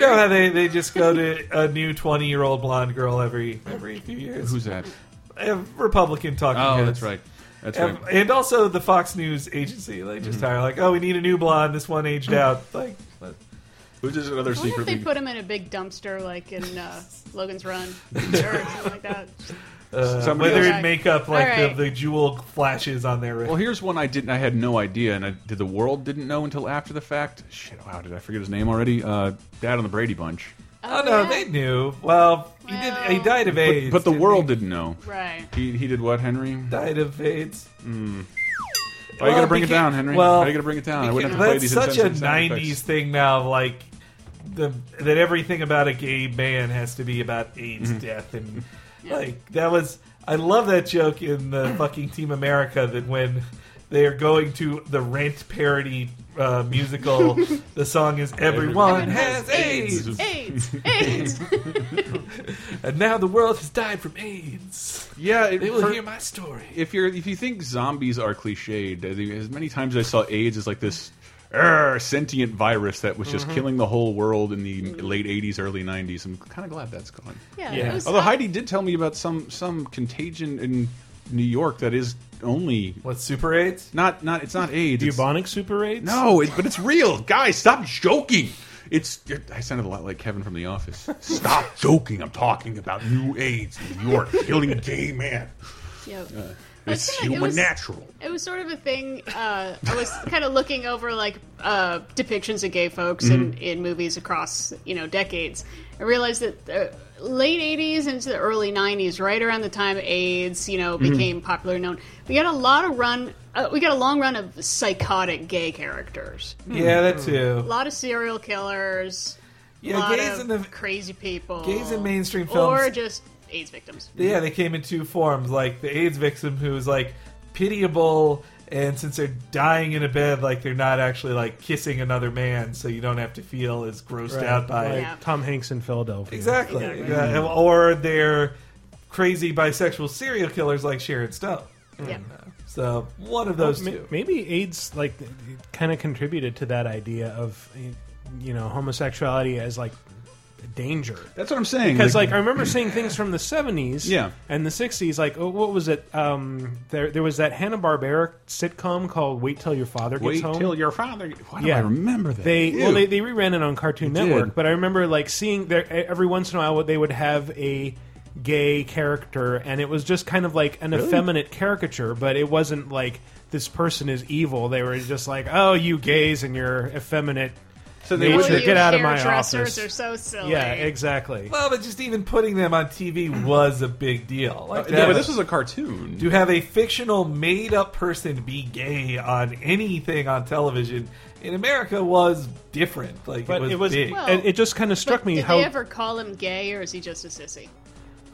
Beard.
know how they, they just go to a new twenty year old blonde girl every every few years.
Who's that?
a Republican talking?
Oh,
heads.
that's right. That's
And,
right. Mm-hmm.
and also the Fox News agency, they just hire like, oh, we need a new blonde. This one aged out. Like, but-
Who's this another
I wonder if
secret?
they
League?
put him in a big dumpster like in uh, Logan's Run or something like that.
uh,
Somebody
whether
else-
in makeup, like
All right.
the, the jewel flashes on their wrist.
Well, here's one I didn't. I had no idea, and I, did the world didn't know until after the fact. Shit! Wow, did I forget his name already? Uh, Dad on the Brady Bunch.
oh no,
yeah.
they knew. Well, he did. He
Well.
died of AIDS,
But, but the
didn't
world
he?
didn't know.
Right.
He, he did what, Henry? How
died of AIDS.
are you
Well,
gonna bring it
became-
down, Henry?
well,
How are you gonna bring it down? Oh, I wouldn't have to play
That's
these
such a
insensitive sound effects.
'90s thing now. Like the that everything about a gay man has to be about AIDS
Mm-hmm.
death, and like that was. I love that joke in the fucking Team America that when they are going to the Rent parody uh, musical, the song is "Everyone has AIDS,"
AIDS, AIDS.
and now the world has died from AIDS.
Yeah, it,
They will
for-
hear my story.
if you're if you think zombies are cliched, as, as many times as I saw AIDS as like this "Arr," sentient virus that was just
Mm-hmm.
killing the whole world in the late '80s, early '90s. I'm kind of glad that's gone.
Yeah.
Yeah.
It was,
Although Heidi did tell me about some some contagion in New York that is only
What Super AIDS?
not not it's not AIDS. it's-
Bubonic super AIDS?
no, it, but it's real, guys. Stop joking. It's you're- I sounded a lot like Kevin from The Office. Stop joking. I'm talking about new AIDS in New York killing a gay man.
yeah. I
Uh, It's
feel like it
human
was-
natural.
It was sort of a thing. Uh, I was kind of looking over like uh, depictions of gay folks in,
Mm-hmm.
in movies across you know decades. I realized that the late '80s into the early '90s, right around the time AIDS you know
Mm-hmm.
became popular and known, we got a lot of run. Uh, we got a long run of psychotic gay characters.
Yeah, that too.
A lot of serial killers. a
Yeah,
lot of
gays in the-
crazy people.
gays in mainstream
or
films-
just AIDS victims.
Yeah, they came in two forms, like the AIDS victim who's like pitiable, and since they're dying in a bed, like they're not actually like kissing another man, so you don't have to feel as grossed
Right,
out by
like
it.
Yeah.
Tom Hanks in Philadelphia.
Exactly.
Exactly.
Yeah, Or they're crazy bisexual serial killers like Sharon Stone.
Yeah.
So one of
Well,
those
ma-
two.
Maybe AIDS like kind of contributed to that idea of you know homosexuality as like danger.
That's what I'm saying.
Because like I remember seeing things from the seventies,
Yeah.
and the sixties. Like oh, what was it? Um, there there was that Hanna Barbera sitcom called Wait Till Your Father Gets
wait
Home.
till your father. Why do
Yeah.
I remember that?
They
Ew.
well, they, they reran it on Cartoon
They
Network,
did.
but I remember like seeing there e, every once in a while they would have a gay character, and it was just kind of like an effeminate caricature, but it wasn't like this person is evil. They were just like, oh, you gays and your effeminate.
so they
Oh,
Or
Sure,
would
you-
your
get out of my
hairdressers
office.
are so silly.
Yeah, exactly.
Well, but just even putting them on TV was a big deal. Like
Uh, Yeah, but
that-
this was a cartoon.
To have a fictional made up person be gay on anything on television in America was different. Like
but
it was, big.
Well,
it, it just kind of struck
But
me
Did
how
they ever call him gay, or is he just a sissy?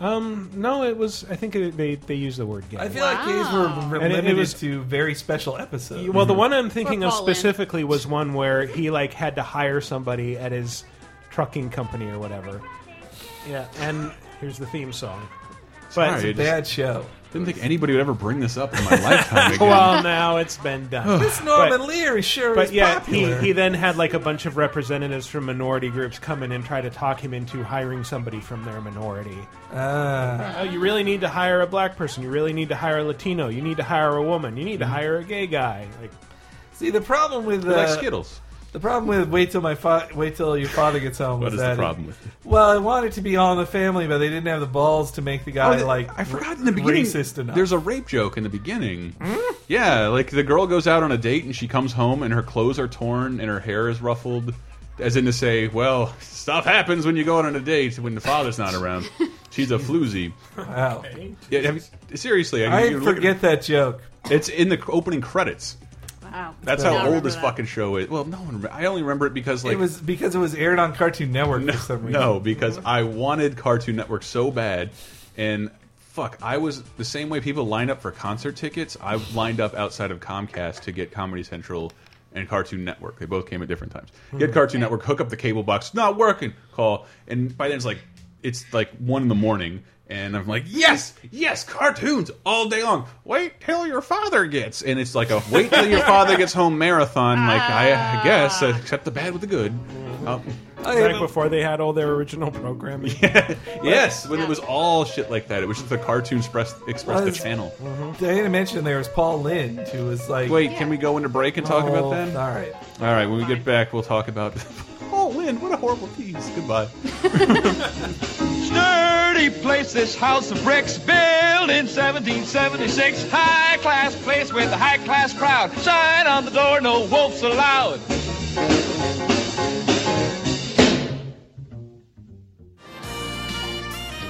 Um, no, it was. I think it, they they used the word gay.
I feel like these
Wow.
were
And it- it
limited
was-
to very special episodes.
well, the one I'm thinking
Or
of
Paul Lynde.
specifically was one where he like had to hire somebody at his trucking company or whatever. Yeah, and here's the theme song. But
Sorry.
Bad show.
Didn't think anybody would ever bring this up in my lifetime again.
well, now it's been done.
This Norman
But-
Lear is sure
But
is
yeah, he,
popular.
he then had like a bunch of representatives from minority groups come in and try to talk him into hiring somebody from their minority.
Ah.
Oh, you really need to hire a black person. You really need to hire a Latino. You need to hire a woman. You need
Mm-hmm.
to hire a gay guy. Like,
see the problem with
like
uh,
Skittles.
the problem with wait till my fa- wait till your father gets home.
What
was
is the
that
problem with it?
Well, I wanted to be all in the family, but they didn't have the balls to make the guy
Oh, the-
like
I forgot in the beginning.
racist enough.
There's a rape joke in the beginning. Yeah, like the girl goes out on a date and she comes home and her clothes are torn and her hair is ruffled, as in to say, "Well, stuff happens when you go out on a date when the father's not around." She's a floozy.
wow.
Yeah, have you- seriously, I,
I
you look
forget that joke.
At, it's in the opening credits.
Wow.
That's
I
how
don't
old this
remember that.
fucking show is. Well, no one. rem- I only remember it because like
it was because it was aired on Cartoon Network
No,
for some reason.
no, because I wanted Cartoon Network so bad, and fuck, I was the same way people lined up for concert tickets. I lined up outside of Comcast to get Comedy Central and Cartoon Network. They both came at different times. Get
Hmm.
Cartoon Network, hook up the cable box, not working. Call, and by then it's like it's like one in the morning. And I'm like, yes, yes, cartoons all day long. Wait till your father gets, and it's like a wait till your father gets home marathon. Like I, I guess,
Ah.
except the bad with the good. Um,
I,
back before they had all their original programming.
Yes, when it was all shit like that. It was just the cartoon express express the
Was-
channel.
they didn't mention there was Paul Lind who was like
Wait, can we go into break and talk about
oh,
that?
All right.
All right, when we get back, we'll talk about. Oh, Lynn, what a horrible tease. Goodbye.
Sturdy place, this house of bricks, built in 1776. High class place with a high class crowd. Sign on the door, no wolves allowed.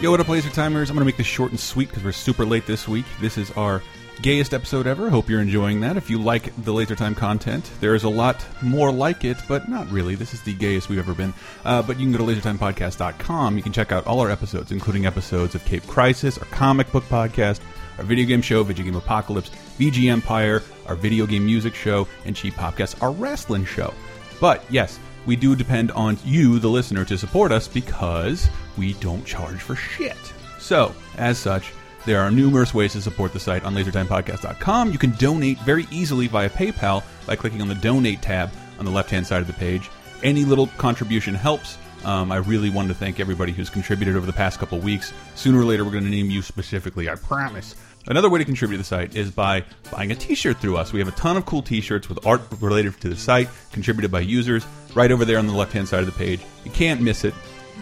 Yo, what up, Laser Timers? I'm going to make this short and sweet because we're super late this week. This is our gayest episode ever. Hope you're enjoying that. If you like the Laser Time content, there is a lot more like it, but not really. This is the gayest we've ever been. Uh, but you can go to lasertimepodcast.com. You can check out all our episodes, including episodes of Cape Crisis, our comic book podcast, our video game show, Video Game Apocalypse, VG Empire, our video game music show, and Cheap Popcast, our wrestling show. But yes, we do depend on you, the listener, to support us because we don't charge for shit. So, as such, there are numerous ways to support the site on lasertimepodcast.com. You can donate very easily via PayPal by clicking on the donate tab on the left hand side of the page. Any little contribution helps. Um, I really wanted to thank everybody who's contributed over the past couple weeks. Sooner or later, we're going to name you specifically, I promise. Another way to contribute to the site is by buying a t-shirt through us. We have a ton of cool t-shirts with art related to the site, contributed by users, right over there on the left-hand side of the page. You can't miss it.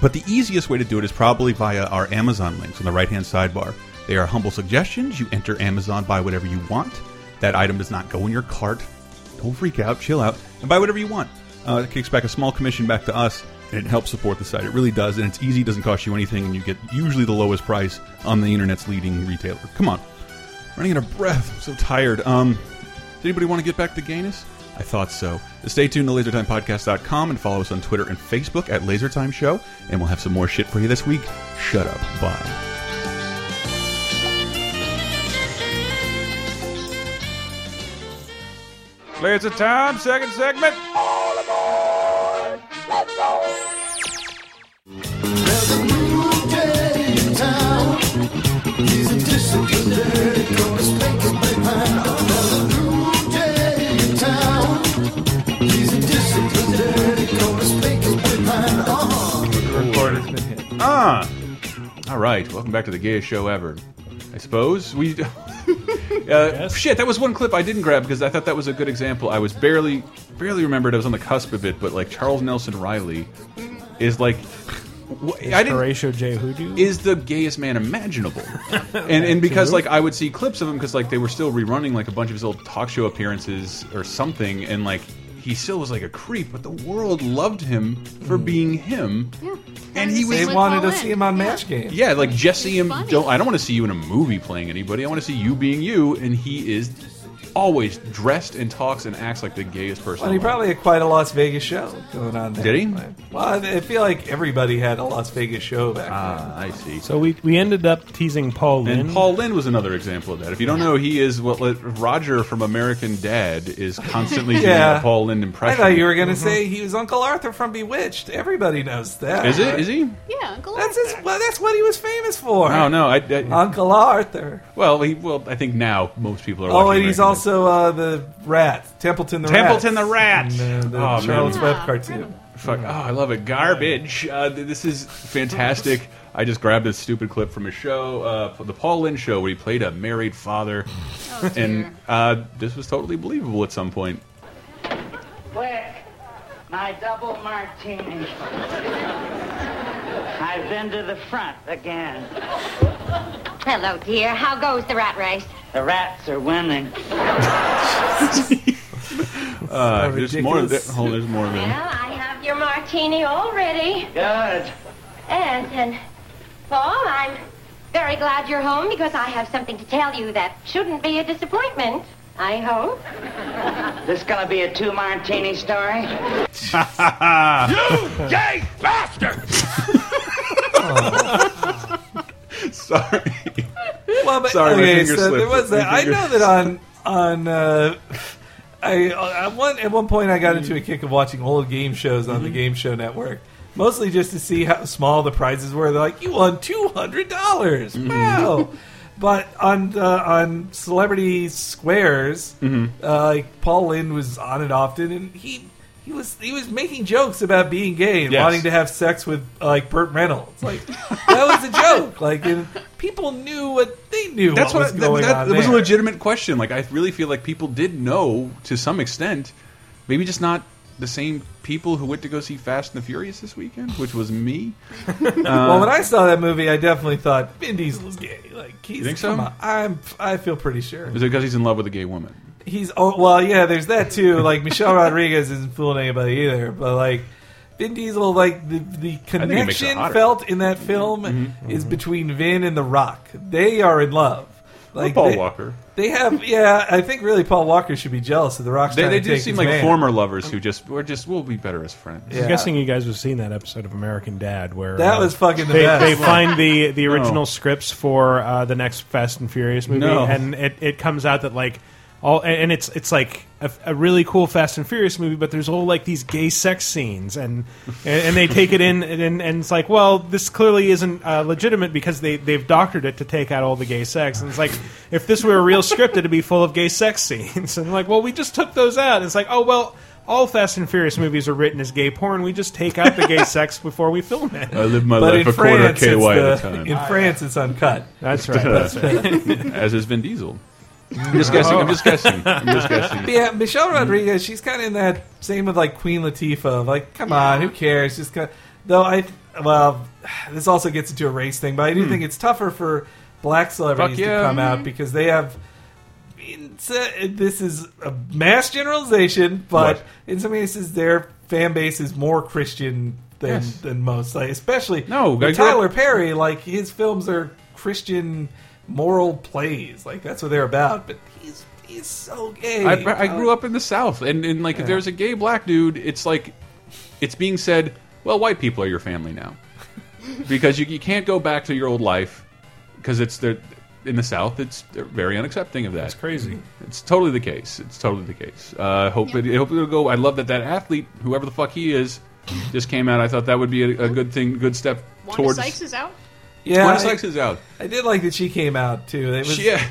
But the easiest way to do it is probably via our Amazon links on the right-hand sidebar. They are humble suggestions. You enter Amazon, buy whatever you want. That item does not go in your cart. Don't freak out, chill out, and buy whatever you want. Uh, it kicks back a small commission back to us, and it helps support the site. It really does, and it's easy, doesn't cost you anything, and you get usually the lowest price on the internet's leading retailer. Come on. Running out of breath. I'm so tired. Um, does anybody want to get back to gayness? I thought so. Stay tuned to lasertimepodcast.com and follow us on Twitter and Facebook at Lasertime Show, and we'll have some more shit for you this week. Shut up. Bye.
Laser time, second segment.
Recorder's been hit.
Ah. All right, welcome back to the gayest show ever. I suppose we. uh, Shit, that was one clip I didn't grab because I thought that was a good example. I was barely, barely remembered. I was on the cusp of it, but like Charles Nelson Riley is like. wh- I didn't,
Horatio J. Hoodoo.
is the gayest man imaginable. and and because like I would see clips of him because like they were still rerunning like a bunch of his old talk show appearances or something, and like he still was like a creep, but the world loved him for being him.
Yeah.
And he was-
They
Same with
wanted
Paul
to see
Lynde.
him on
Yeah.
Match Game.
Yeah, like Jesse, him.
funny.
Don't I don't want to see you in a movie playing anybody. I want to see you being you, and he is always dressed and talks and acts like the gayest person.
Well, he
alive.
probably had quite a Las Vegas show going on. There.
Did he?
Well, I I feel like everybody had a Las Vegas show back
Ah, I see.
So we, we ended up teasing Paul Lynn.
And Paul Lynn was another example of that. If you don't know, he is what what- Roger from American Dad is constantly doing
Yeah.
a Paul Lynn
then. I
impression.
thought you were going to
Mm-hmm.
say he was Uncle Arthur from Bewitched. Everybody knows that.
Is it? Is he?
Yeah, Uncle
That's
Arthur.
his, well, that's what he was famous for.
Oh no! I, I
Uncle Arthur.
well, he well, I think now most people are.
Oh,
watching
and he's
American
also uh, the rat, Templeton the
Templeton the
rat.
Rat.
And, uh, the
oh
Charlotte's
man,
Web
Yeah,
cartoon.
fuck! Oh, I love it. Garbage. Uh, th- this is fantastic. I just grabbed this stupid clip from his show, uh, the Paul Lynn show, where he played a married father,
Oh, dear.
and uh, this was totally believable at some point.
Quick, my double martini. I've been to the front again. Hello, dear. How goes the rat race? The rats are winning.
Uh, there's more. Of that.
ridiculous.
Hold, on, there's more of
Hmm?
him.
I have your martini all ready.
Good.
And, and, Paul, I'm very glad you're home because I have something to tell you that shouldn't be a disappointment. I hope. This gonna be a two martini story?
You gay bastard!
Sorry.
Well, but,
Sorry, my finger
so there
slipped.
was that.
My
I
finger-
know that on on. Uh, I, I one at one point I got into a kick of watching old game shows on the
Mm-hmm.
Game Show Network, mostly just to see how small the prizes were. They're like, "You won two hundred dollars!
Mm-hmm.
Wow!" But on uh, on Celebrity Squares,
Mm-hmm.
uh, like Paul Lynn was on it often, and he he was he was making jokes about being gay and
Yes.
wanting to have sex with uh, like Burt Reynolds. Like that was a joke. Like and people knew what they knew.
That's what,
was going
I, that,
on.
that was a
there.
legitimate question. Like I really feel like people did know to some extent, maybe just not the same people who went to go see Fast and the Furious this weekend, which was me.
well,
Uh,
when I saw that movie, I definitely thought Vin Diesel's gay. Like he's,
think so?
come on. I'm I feel pretty sure
Is it because he's in love with a gay woman?
he's. Oh, well, yeah, there's that too. Like Michelle Rodriguez isn't fooling anybody either, but like. Vin Diesel, like the the
it makes it
connection
hotter. Mm-hmm.
felt in that film is between Vin and The Rock. They are in love. Like
Paul
they,
Walker.
They have, yeah. I think really Paul Walker should be jealous of The Rock's
They,
trying
they
to
do
take
seem
his
like
man.
former lovers who just we're just we'll be better as friends.
Yeah.
I'm guessing you guys have seen that episode of American Dad where
That
uh,
was fucking the
they,
best.
they find the the original
No.
scripts for uh, the next Fast and Furious movie,
No.
and it, it comes out that like all and and it's it's like a, a really cool Fast and Furious movie, but there's all like these gay sex scenes, and and, and they take it in, and, and it's like, well, this clearly isn't uh, legitimate because they they've doctored it to take out all the gay sex, and it's like if this were a real script, it'd be full of gay sex scenes, and like, well, we just took those out. it's like, oh well. All Fast and Furious movies are written as gay porn. We just take out the gay sex before we film it.
I live my
but
life a
in
quarter
France,
ky
it's
at a
the-
time,
in France, it's uncut.
That's right. That's right.
as is Vin Diesel. I'm just guessing. I'm just guessing. I'm just guessing.
But yeah, Michelle
Mm.
Rodriguez, she's kind of in that same with like Queen Latifah. of, Like, come on, who cares? Just kind of, though. I well, this also gets into a race thing, but I do think it's tougher for black celebrities
Mm. Fuck yeah.
to come out because they have. It's a, this is a mass generalization, but
Right.
in some cases, their fan base is more Christian than
Yes.
than most. Like, especially
No,
with
I grew up-
Tyler Perry, like his films are Christian moral plays. Like that's what they're about. But he's he's so gay.
I, I grew
oh.
up in the South, and, and like if there's a gay black dude, it's like it's being said, well, white people are your family now, because you, you can't go back to your old life because it's they're in the South. It's they're very unaccepting of that.
That's crazy.
It's totally the case. It's totally the case. Uh, I hope it, I hope it'll go. I love that that athlete, whoever the fuck he is, just came out. I thought that would be a, a good thing, good step
Wanda
towards.
Sykes is out.
Yeah,
Wanda
I-
Sykes is out.
I, did like that she came out too. It was,
She- yeah.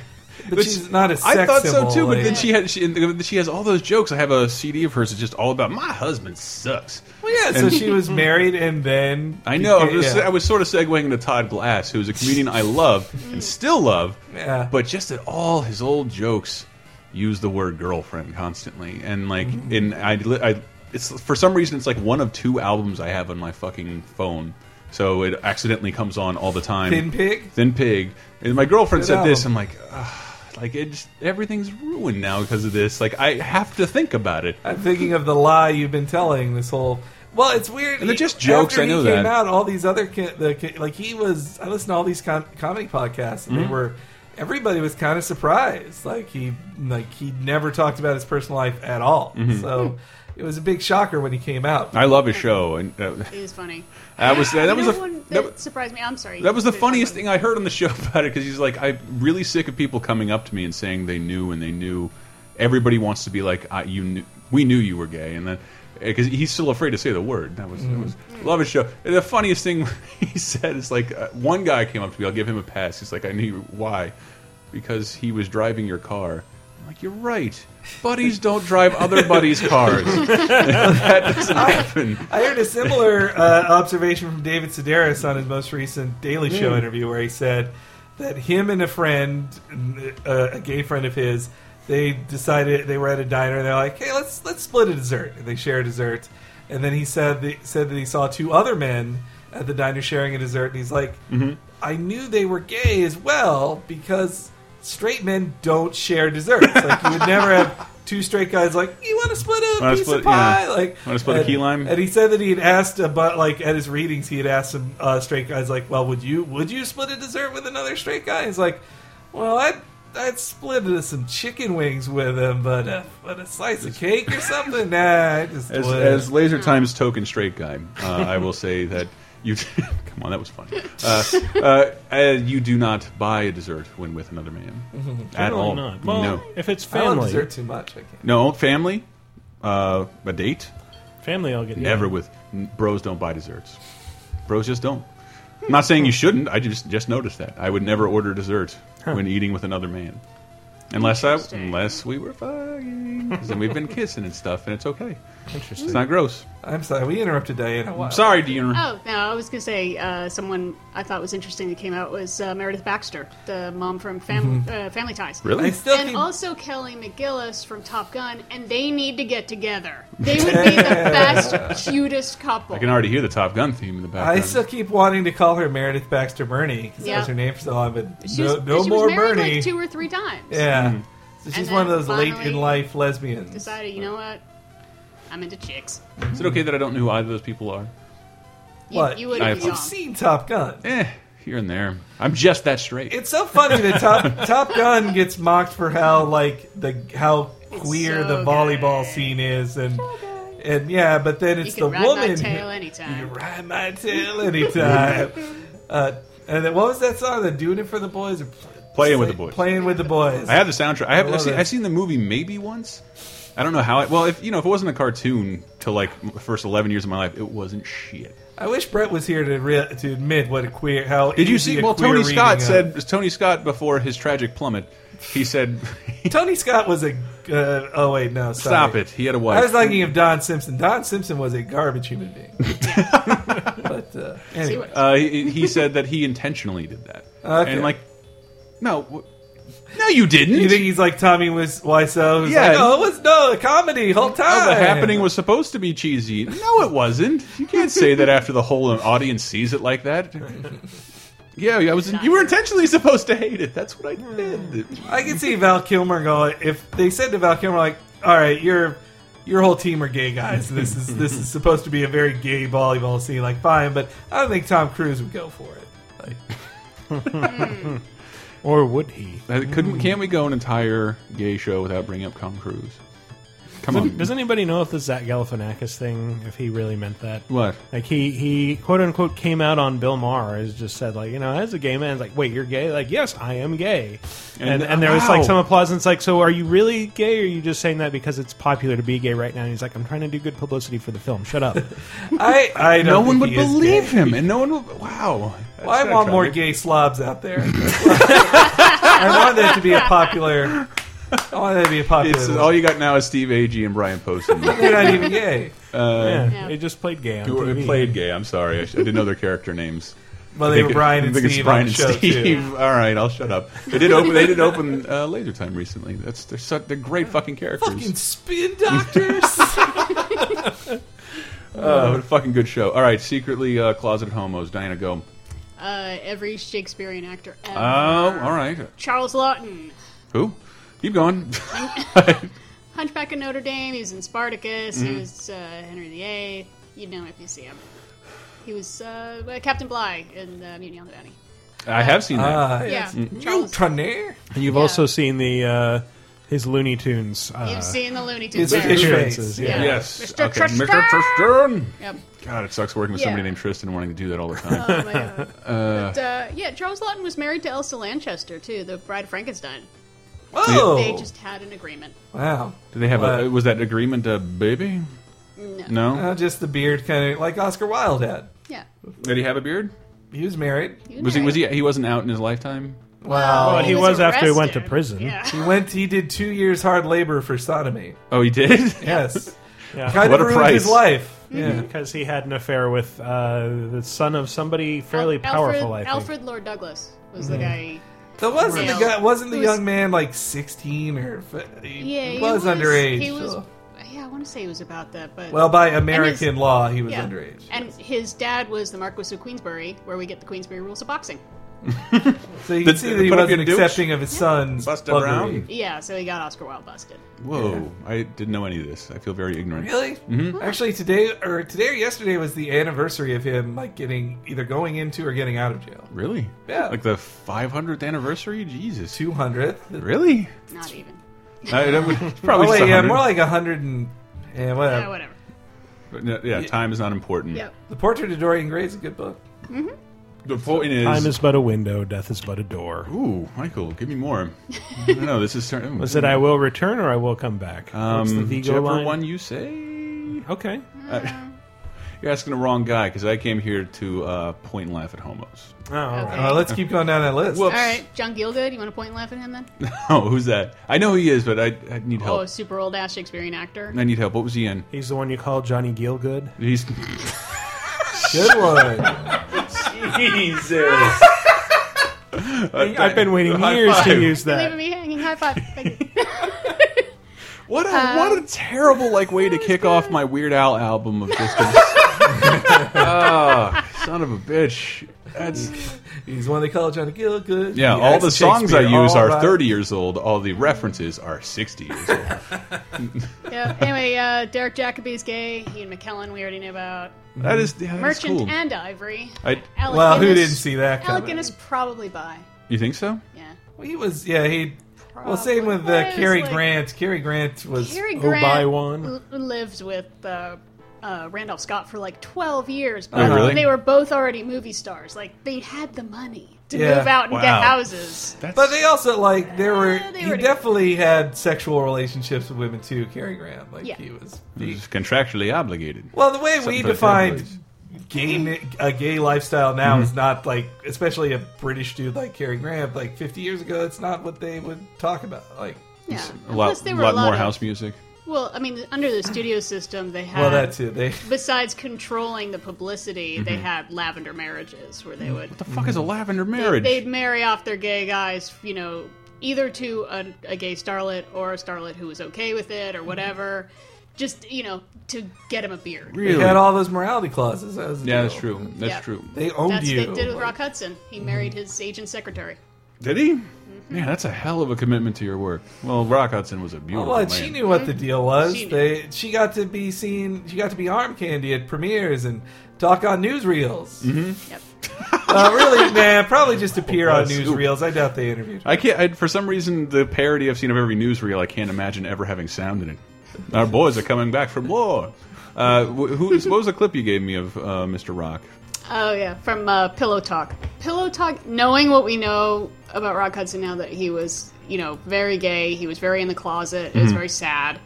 but she's not a
I
sex
thought
symbol,
so too, but
like-
then she had she, and then she has all those jokes. I have a CD of hers that's just all about my husband sucks.
Well, yeah. So
And-
she was married, and then
I know. I'm
Yeah.
just- I was sort of segueing into Todd Glass, who's a comedian I love and still love,
Mm. Yeah.
but just that all his old jokes use the word girlfriend constantly, and like
Mm-hmm.
in I, li- I it's for some reason it's like one of two albums I have on my fucking phone, so it accidentally comes on all the time.
Thin Pig?
Thin Pig, and my girlfriend
Good
said this. I'm
album.
like. Ugh. Like it just, everything's ruined now because of this. Like I have to think about it.
I'm thinking of the lie you've been telling this whole. Well, it's weird.
And they're just jokes,
After
I know
he came
that. Mm-hmm.
out, all these other ki- the ki- like he was. I listened to all these com- comedy podcasts, and they were everybody was kind of surprised. Like he like he never talked about his personal life at all.
Mm-hmm.
So it was a big shocker when he came out.
I love his show, and uh,
It was funny.
that was that was
Another
a,
one
that
that,
was-
surprised me. I'm sorry.
That was the
Finish
funniest
up.
thing I heard on the show about it because he's like, I'm really sick of people coming up to me and saying they knew and they knew. Everybody wants to be like, I, you, knew, we knew you were gay, and then because he's still afraid to say the word. That was, that was love his show. And the funniest thing he said is like, uh, one guy came up to me, I'll give him a pass. He's like, I knew you- why, because he was driving your car. I'm like, you're right. Buddies don't drive other buddies' cars. that doesn't happen.
I heard a similar uh, observation from David Sedaris on his most recent Daily
Hmm.
Show interview, where he said that him and a friend, uh, a gay friend of his, they decided they were at a diner and they're like, "Hey, let's let's split a dessert," and they share a dessert. And then he said that, said that he saw two other men at the diner sharing a dessert, and he's like,
Mm-hmm.
"I knew they were gay as well because." Straight men don't share desserts. Like you would never have two straight guys like you want to split a
Wanna
piece
split-
of pie.
yeah.
Like
Wanna split a
and-
key lime?
And he said that he had asked about like at his readings, he had asked some uh, straight guys like, "Well, would you would you split a dessert with another straight guy?" He's like, "Well, I'd I'd split uh, some chicken wings with him, but uh, but a slice of cake or something, nah, I just
As,
wouldn't."
as Laser Time's token straight guy, uh, I will say that you. come on, that was funny. Uh, uh, uh, you do not buy a dessert when with another man at all.
Not. Well,
no,
if it's
I love
family,
dessert too much. I can't.
no family, uh, a date,
family, I'll get
never with n- bros. Don't buy desserts. Bros just don't. I'm not saying you shouldn't. I just just noticed that. I would never order dessert when eating with another man, unless I
Interesting.
unless we were fucking, 'Cause then we've been kissing and stuff, and it's okay.
Interesting.
It's not gross.
I'm sorry, we interrupted Diana. Wow.
I'm sorry, Deanna.
Oh no, I was gonna say uh, someone I thought was interesting that came out was uh, Meredith Baxter, the mom from Fam- uh, Family Ties.
Mm-hmm. Really?
I still
and
keep-
also Kelly McGillis from Top Gun, and they need to get together. They would be the best, cutest couple.
I can already hear the Top Gun theme in the background.
I still keep wanting to call her Meredith Baxter Bernie because that
Yeah.
was her name for so long, but
she was,
no, no
she
more
was married
Bernie.
like two or three times.
yeah,
Mm.
so she's
And
one of
then
those late in
finally
life lesbians.
Decided, you know what? I'm into chicks.
Is it okay that I don't know who either of those people are?
You,
What?
you would
I
have
have-
You've
young.
seen Top Gun.
Eh, here and there. I'm just that straight.
It's so funny that Top Top Gun gets mocked for how like the how queer
so
the volleyball
gay.
scene is, and and yeah, but then
You
it's
can
the
ride
woman.
my tail
who- you
anytime.
ride my tail anytime. uh, and then what was that song? The doing it for the boys or
Playing with the Boys.
Playing with the boys.
I have the soundtrack. I have.
I
I've
love
seen,
it.
I've seen the movie maybe once. I don't know how. I, well, if you know, if it wasn't a cartoon till like the first 11 years of my life, it wasn't shit.
I wish Brett was here to re- to admit what a queer how.
Did you
easy
see?
a
Well,
queer
Tony
reading
Scott
of-
said Tony Scott before his tragic plummet. He said,
Tony Scott was a. Uh, oh wait, no, sorry.
"Stop it." He had a wife.
I was thinking of Don Simpson. Don Simpson was a garbage human being. but uh,
See
anyway,
what-
Uh, he, he said that he intentionally did that.
Okay.
And like, no, w- no, you didn't.
you think he's like Tommy Wis- Wiseau? Who's
Yeah.
like, oh, it was no a comedy whole time.
Oh, the happening was supposed to be cheesy. No, it wasn't. You can't say that after the whole audience sees it like that. Yeah, I was. You were intentionally supposed to hate it. That's what I did.
I can see Val Kilmer going. If they said to Val Kilmer, like, all right, your Your whole team are gay guys. This is this is supposed to be a very gay volleyball scene. Like, fine, but I don't think Tom Cruise would go for it. Like,
Or would he?
Uh, Couldn't? Can't we go an entire gay show without bringing up Tom Cruise? Come on.
Does anybody know if the Zach Galifianakis thing, if he really meant that?
What?
Like he he quote unquote came out on Bill Maher as just said like you know as a gay man it's like wait you're gay like yes I am gay
And-
and and, there was like
wow.
some applause and it's like so are you really gay or are you just saying that because it's popular to be gay right now and he's like I'm trying to do good publicity for the film shut up
I, I don't
no one
think
would
he is
believe
gay.
him, and no one would. Wow.
Well, I
That's
want more
tragic.
gay slobs out there. I want that to be a popular. I want that to be a popular.
It's, all
one.
you got now is Steve Agee and Brian Poston.
They're not even gay.
yeah,
Yeah.
they just played gay on
Who were-
TV
played gay? I'm sorry, I, sh- I didn't know their character names.
Well,
I
they
think
were
it-
Brian
I
and
think it's
Steve
Brian
on the
and
show too.
Steve. All right, I'll shut up. They did open. They did open uh, Laser Time recently. That's they're such, they're great fucking characters.
Fucking spin doctors.
Uh, what a fucking good show. All right, secretly uh, closeted homos. Diana, go.
Uh, every Shakespearean actor ever.
Oh, all right.
Charles Lawton,
Who? Keep going.
Hunchback of Notre Dame. He was in Spartacus.
Mm-hmm.
He was uh, Henry VIII. You'd know him if you see him. He was uh, Captain Bligh in uh, Mutiny on the Bounty.
I have seen that.
Uh,
Yeah.
Mm-hmm.
Charles,
Mutiny.
And you've
Yeah.
also seen the uh, his Looney Tunes. Uh,
you've seen the Looney Tunes.
It's
there.
fish
appearances,
face.
yeah.
yes.
Mr.
Okay.
Tristan!
Mr. Tristan.
Yep.
God, it sucks working with
Yeah.
somebody named Tristan wanting to do that all the time.
Oh, my God. but, uh, yeah, Charles Lawton was married to Elsa Lanchester too, the Bride of Frankenstein.
Oh,
They just had an agreement.
wow.
Do they have a?
But-
Was that agreement a baby? No.
Uh, just the beard, kind of like Oscar Wilde had.
Yeah.
Did he have a beard?
He was married.
Was he? Was he? He wasn't out in his lifetime.
Wow.
But he was after he went to prison.
Yeah.
He went. He did two years hard labor for sodomy.
Oh, he did.
Yes.
Yeah.
Kind
What a
of ruined his
price.
life.
Mm-hmm.
Yeah.
Because he had an affair with uh, the son of somebody fairly
Alfred,
powerful, I think. Hmm.
Alfred Lord Douglas was the guy.
That wasn't
Yeah.
the guy. Wasn't the
He was-
young man like sixteen or? f- He
Yeah, he
was, underage.
He was.
so-
Yeah, I want to say he was about that, but
Well, by American
his-
law, he was
yeah.
underage.
And his dad was the Marquis of Queensbury, where we get the Queensbury rules of boxing.
So you
The-
can see that he
put up
wasn't
your douche.
accepting of his son's
Busta
buggery.
Brown.
Yeah, so he got Oscar Wilde busted.
Whoa! I didn't know any of this. I feel very ignorant.
Really?
Mm-hmm.
Actually, today or today or yesterday was the anniversary of him like getting either going into or getting out of jail.
Really?
Yeah.
Like the 500th anniversary? Jesus.
Two hundredth.
Really?
Not even.
I, that would,
Oh
probably
wait,
just
yeah,
100.
more like a hundred and yeah, whatever.
Yeah, whatever.
But no, yeah, time is not important.
Yep.
The Portrait of Dorian Gray is a good book.
The point is,
Time is but a window, death is but a door.
Ooh, Michael, give me more. I don't know. This is certain.
Was it I will return or I will come back? What's the
um,
Vigo
whichever
line?
one you say?
Okay.
You're asking the wrong guy because I came here to uh, point and laugh at homos.
Oh, all right.
Uh, let's keep going down that list.
All right, John Gielgud, you want to point and laugh at him then?
Oh, who's that? I know who he is, but I, I need
Oh,
help.
super old ass Shakespearean actor.
I need help. What was he in?
He's the one you call Johnny Gielgud.
He's
Good one.
Jesus. I've been waiting
High
years
five.
to use
Leaving
that.
me hanging. High five. Thank you.
What a
Um,
what a terrible like way to kick off my Weird Al album of just. a- Ah, son of a bitch. That's
He's one they call Johnny Gilgood.
yeah.
He
all
acts
the
in
songs I
Shakespeare,
use
all
are
right.
thirty years old. All the references are sixty years old.
yeah. Anyway, uh, Derek Jacobi's gay. Ian McKellen, we already knew about.
That is yeah, that's
Merchant
cool.
and Ivory.
I-
Alec
Well, who
Guinness-
didn't see that
Alec
coming?
Guinness probably bi.
you think so?
Yeah.
Well, he was, yeah, he. Well, same with
Probably.
uh,
Well,
Cary
it's like-
Grant. Cary Grant was.
Cary
Obi-Wan.
Grant l- lived with uh, uh, Randolph Scott for like 12 years, but
Oh, really?
they were both already movie stars. Like, they had the money to
Yeah.
move out and
Wow.
get houses.
That's
But they also like there were.
they
he
were-
definitely had sexual relationships with women too. Cary Grant, like
Yeah.
he was.
He's contractually obligated.
Well, the way we
Hmm. Something for the
define
families.
gay a gay lifestyle now
Mm-hmm.
is not like, especially a British dude like Cary Grant. Like 50 years ago, it's not what they would talk about. Like,
Yeah.
A lot,
Plus, they were
lot more
of-
house music.
Mm-hmm.
Well, I mean, under the studio system, they had.
Uh,
well, that's it. They
Besides controlling the publicity, they had lavender marriages where they would
Mm-hmm. Mm. What the fuck is a lavender
they,
marriage?
they'd marry off their gay guys, you know, either to a, a gay starlet or a starlet who was okay with it or whatever, just you know, to get him a beard.
they
really?
had all those morality clauses. That was the
yeah,
deal.
that's true. That's
Yeah.
true.
They owned
That's
you.
what they did with
Like,
Rock Hudson. He married his agent secretary.
Did he?
Mm-hmm.
Man, that's a hell of a commitment to your work. Well, Rock Hudson was a beautiful
Well,
Oh, man.
she knew what the deal was.
She knew.
they she got to be seen. She got to be arm candy at premieres and talk on newsreels.
Yep.
Uh, really, man, probably just appear on
Mm-hmm. Oh, Bless you.
newsreels. I doubt they interviewed. her.
I can't. I, for some reason, the parody I've seen of every newsreel, I can't imagine ever having sound in it. Our boys are coming back from war. Uh, wh- who, what was the clip you gave me of uh, Mr. Rock?
Oh yeah, from uh, Pillow Talk. Pillow Talk. Knowing what we know about Rock Hudson now, that he was, you know, very gay. He was very in the closet. It
Mm-hmm.
was very sad.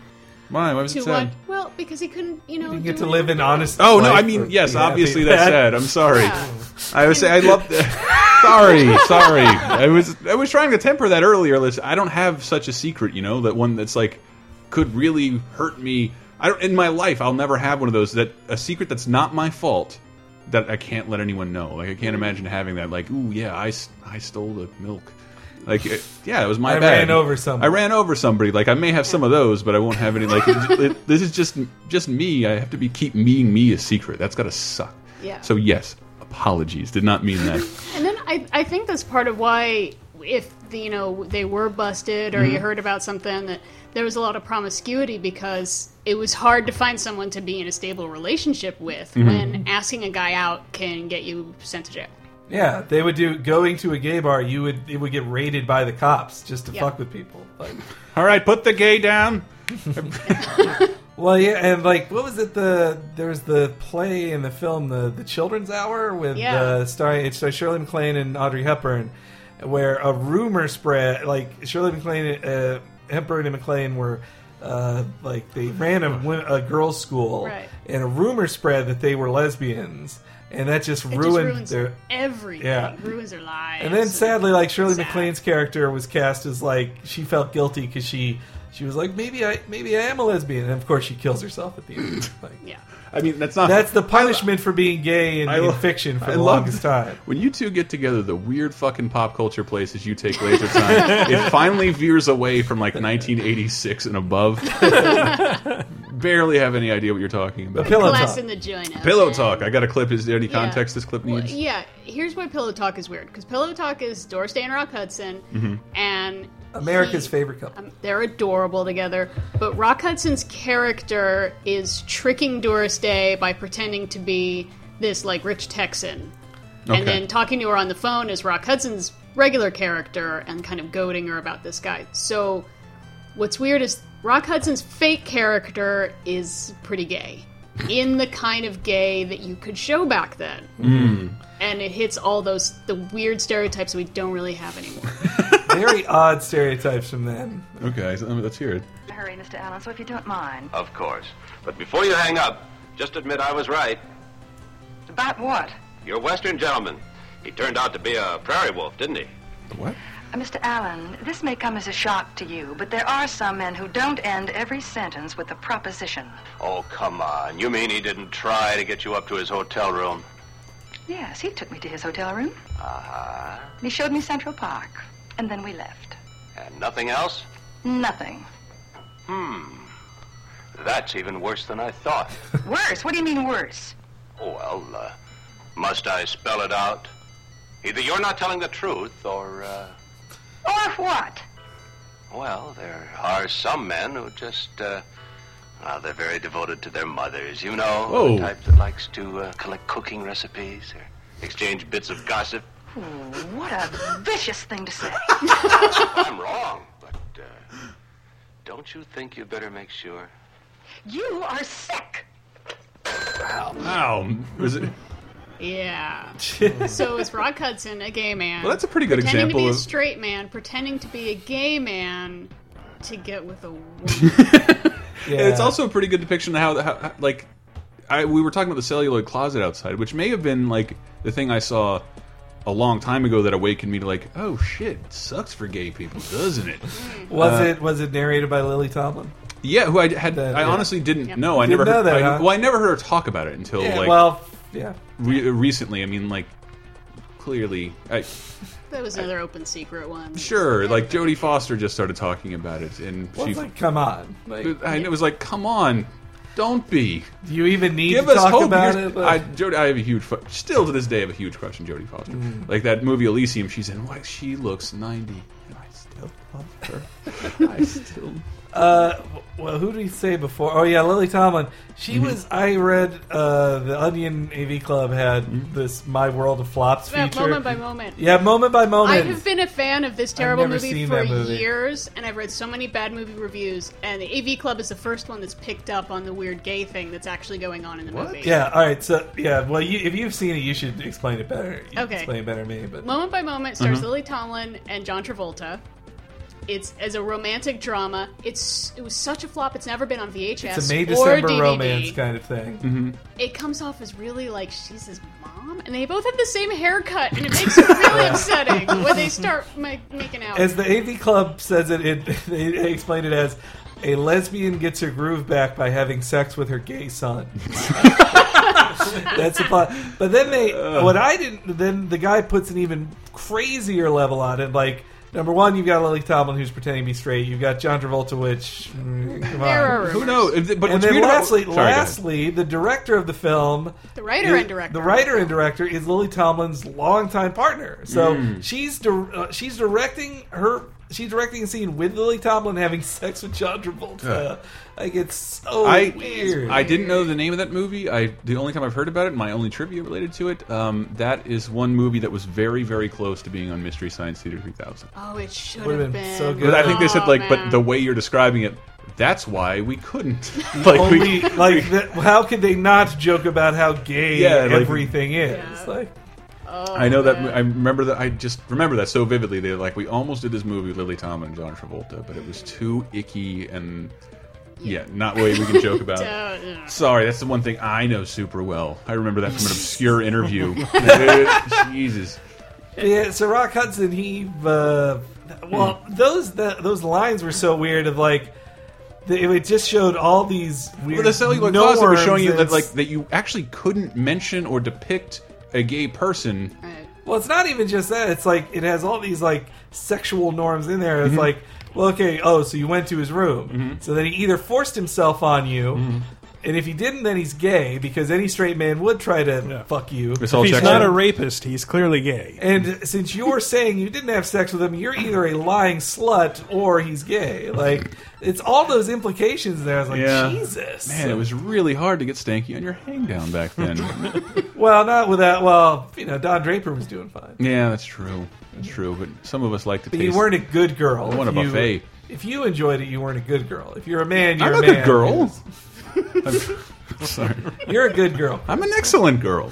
Why? Why was
To
it sad?
what? Well, because he couldn't, you know,
You
do
get to
it.
live in honest.
Oh no!
life
I
or
mean, yes,
be
obviously
happy.
that's sad. I'm sorry.
Yeah.
I was I love. sorry, sorry. I was I was trying to temper that earlier. Liz. I don't have such a secret, you know, that one that's like could really hurt me. I don't in my life. I'll never have one of those. That a secret that's not my fault that I can't let anyone know. Like I can't imagine having that. Like, ooh, yeah, I s- I stole the milk. Like, it- yeah, it was my
I
bad.
ran over someone.
I ran over somebody. Like, I may have some of those, but I won't have any. Like, it- it- this is just just me. I have to be keep meeting me a secret. That's gotta suck.
Yeah.
So yes, apologies. Did not mean that.
And then I, I think that's part of why, if the, you know they were busted or
Mm-hmm.
you heard about something, that there was a lot of promiscuity because it was hard to find someone
Mm-hmm.
to be in a stable relationship with when asking a guy out can get you sent to jail.
Yeah, they would do going to a gay bar. You would it would get raided by the cops just to
Yeah.
fuck with people. Like,
All right, put the gay down.
well, yeah, and like what was it? The there was the play and the film, the the Children's Hour with
Yeah.
uh, starring it's uh, Shirley MacLaine and Audrey Hepburn, where a rumor spread like Shirley MacLaine, uh, Hepburn and MacLaine were. Uh, like they ran a, wi- a girls' school,
Right.
and a rumor spread that they were lesbians, and that just
It
ruined
just ruins
their
everything.
Yeah.
Ruins their lives.
And then sadly, like Shirley
Sad.
MacLaine's character was cast as like she felt guilty because she she was like maybe I maybe I am a lesbian, and of course she kills herself at the end. Like,
Yeah.
I mean, that's not
that's the punishment for being gay in, in
lo-
fiction for
I
the
love
longest time.
When you two get together, the weird fucking pop culture places you take laser time, it finally veers away from like 1986 and above. Barely have any idea what you're talking about.
Pillow
Glass
talk.
in the joint.
Pillow
open.
talk. I got to clip. Is there any
Yeah.
context this clip
Well,
needs?
yeah, here's why Pillow Talk is weird because Pillow Talk is Doris Day and Rock Hudson, and
Mm-hmm. America's
he-
favorite couple.
Um, they're adorable together, but Rock Hudson's character is tricking Doris Day by pretending to be this like rich Texan,
Okay.
and then talking to her on the phone is Rock Hudson's regular character and kind of goading her about this guy. So, what's weird is Rock Hudson's fake character is pretty gay. in the kind of gay that you could show back then, and it hits all those the weird stereotypes that we don't really have anymore.
Very odd stereotypes from then.
Okay, so, um, let's hear it.
Hurry, Mr. Allen, so if you don't mind.
Of course. But before you hang up, just admit I was right.
About what?
You're a Western gentleman. He turned out to be a prairie wolf, didn't he?
What?
Uh, Mr. Allen, this may come as a shock to you, but there are some men who don't end every sentence with the proposition.
Oh, come on. You mean he didn't try to get you up to his hotel room?
Yes, he took me to his hotel room.
Uh-huh.
He showed me Central Park, and then we left.
And nothing else? Hmm.
Nothing.
That's even worse than I thought.
Worse? What do you mean worse?
Oh, well, uh, must I spell it out? Either you're not telling the truth, or, uh,
Or what?
well, there are some men who just, uh, well, they're very devoted to their mothers, you know.
Oh.
The type that likes to uh, collect cooking recipes or exchange bits of gossip.
What a vicious thing to say.
I'm wrong, but, uh, don't you think you better make sure?
You are sick.
Wow. Was it? Well,
Yeah. so is Rock Hudson a gay man?
that's a pretty good
pretending to
example
be
of.
a straight man, pretending to be a gay man to get with a woman.
Yeah,
And It's also a pretty good depiction of how, how how- like, I we were talking about the celluloid closet outside, which may have been like the thing I saw a long time ago that awakened me to like, oh shit, sucks for gay people, doesn't it?
Mm-hmm.
was
Uh,
it was it narrated by Lily Tomlin?
yeah, who I had,
That-
I
yeah.
honestly didn't know. I
Didn't
never
know
heard,
that,
I-
huh?
well, I never heard her talk about it until
Yeah,
like
well, yeah.
re recently. I mean, like, clearly, I,
that was another open secret one.
sure, like Jodie Foster just started talking about it, and
Well,
she,
it's like, come on, like, do
and it was like, come on, don't be.
you even need
give
to
us
talk
hope.
about
Here's-
it?
I, Jodie, I have a huge, fu- still to this day, I have a huge crush on Jodie Foster.
Mm-hmm.
Like that movie Elysium, she's in. Why she looks ninety, and I still love her. I still.
Uh, well, who did he say before? Oh yeah, Lily Tomlin. She
Mm-hmm.
was. I read uh, the Onion AV Club had
Mm-hmm.
this "My World of Flops"
Yeah,
feature.
moment by moment.
Yeah, moment by
I
moment.
have been a fan of this terrible
never
movie
seen
for
that movie.
years, and I've read so many bad movie reviews. And the AV Club is the first one that's picked up on the weird gay thing that's actually going on in the movie.
yeah. All right. So yeah. Well, you, if you've seen it, you should explain it better. You can
Okay.
Explain it better than me. But
Moment by Moment stars
Mm-hmm.
Lily Tomlin and John Travolta. It's as a romantic drama. It's it was such a flop. It's never been on VHS
it's a May
or
December
DVD.
romance kind of thing.
It comes off as really like she's his mom, and they both have the same haircut, and it makes it really upsetting when they start ma- making out.
As the AV Club says it, it they explain it as a lesbian gets her groove back by having sex with her gay son. That's the plot. But then they, what I didn't, then the guy puts an even crazier level on it. Like number one, you've got Lily Tomlin who's pretending to be straight. You've got John Travolta, which mm, come on.
there are rumors.
Who knows? If- But
And
what's
then
weird about-
lastly,
Sorry, go ahead.
lastly, the director of the film,
The writer
is-
and director.
the writer and director
Hmm.
is Lily Tomlin's longtime partner. So she's di- uh, she's directing her She's directing a scene with Lily Tomlin having sex with John Travolta. Like it's so
I
weird.
I didn't know the name of that movie. I the only time I've heard about it, my only trivia related to it, um, that is one movie that was very very close to being on Mystery Science Theater 3000.
Oh, it should
Would've
have
been
been
so good.
But I think they said
Oh,
like, but
man.
the way you're describing it, that's why we couldn't. like
Only,
we
like that, how could they not joke about how gay
Yeah, like-
everything is?
Yeah.
Like
I know that I remember that I just remember that so vividly. They're like, we almost did this movie with Lily Tomlin and John Travolta, but it was too icky and yeah, not way we can joke about.
Oh, yeah.
Sorry, that's the one thing I know super well. I remember that from an obscure interview. Dude, Jesus.
Yeah, so Rock Hudson, he uh, well,
Hmm.
those the, those lines were so weird. Of like, the, it just showed all these weird.
Well, the celluloid
norms
closet was showing you that
and-
like that you actually couldn't mention or depict a gay person.
Right.
well, it's not even just that. It's like it has all these like sexual norms in there. It's
Mm-hmm.
like, well, okay, oh, so you went to his room, so then he either forced himself on you.
Mm-hmm.
And if he didn't, then he's gay because any straight man would try to fuck you.
It's all
If he's
checked
not
out.
a rapist, he's clearly gay.
And since you're saying you didn't have sex with him, you're either a lying slut or he's gay. Like it's all those implications there. I was like,
Yeah.
Jesus.
Man, it was really hard to get stanky on your hang down back then.
Well, not with that. Well, you know, Don Draper was doing fine,
yeah, that's true. That's true. But some of us like to
but
taste.
you weren't a good girl.
I want
If
a
you-
buffet.
If you enjoyed it, you weren't a good girl. If you're a man, you're
I'm
a,
a
man.
good girl. I'm sorry.
You're a good girl.
I'm an excellent girl.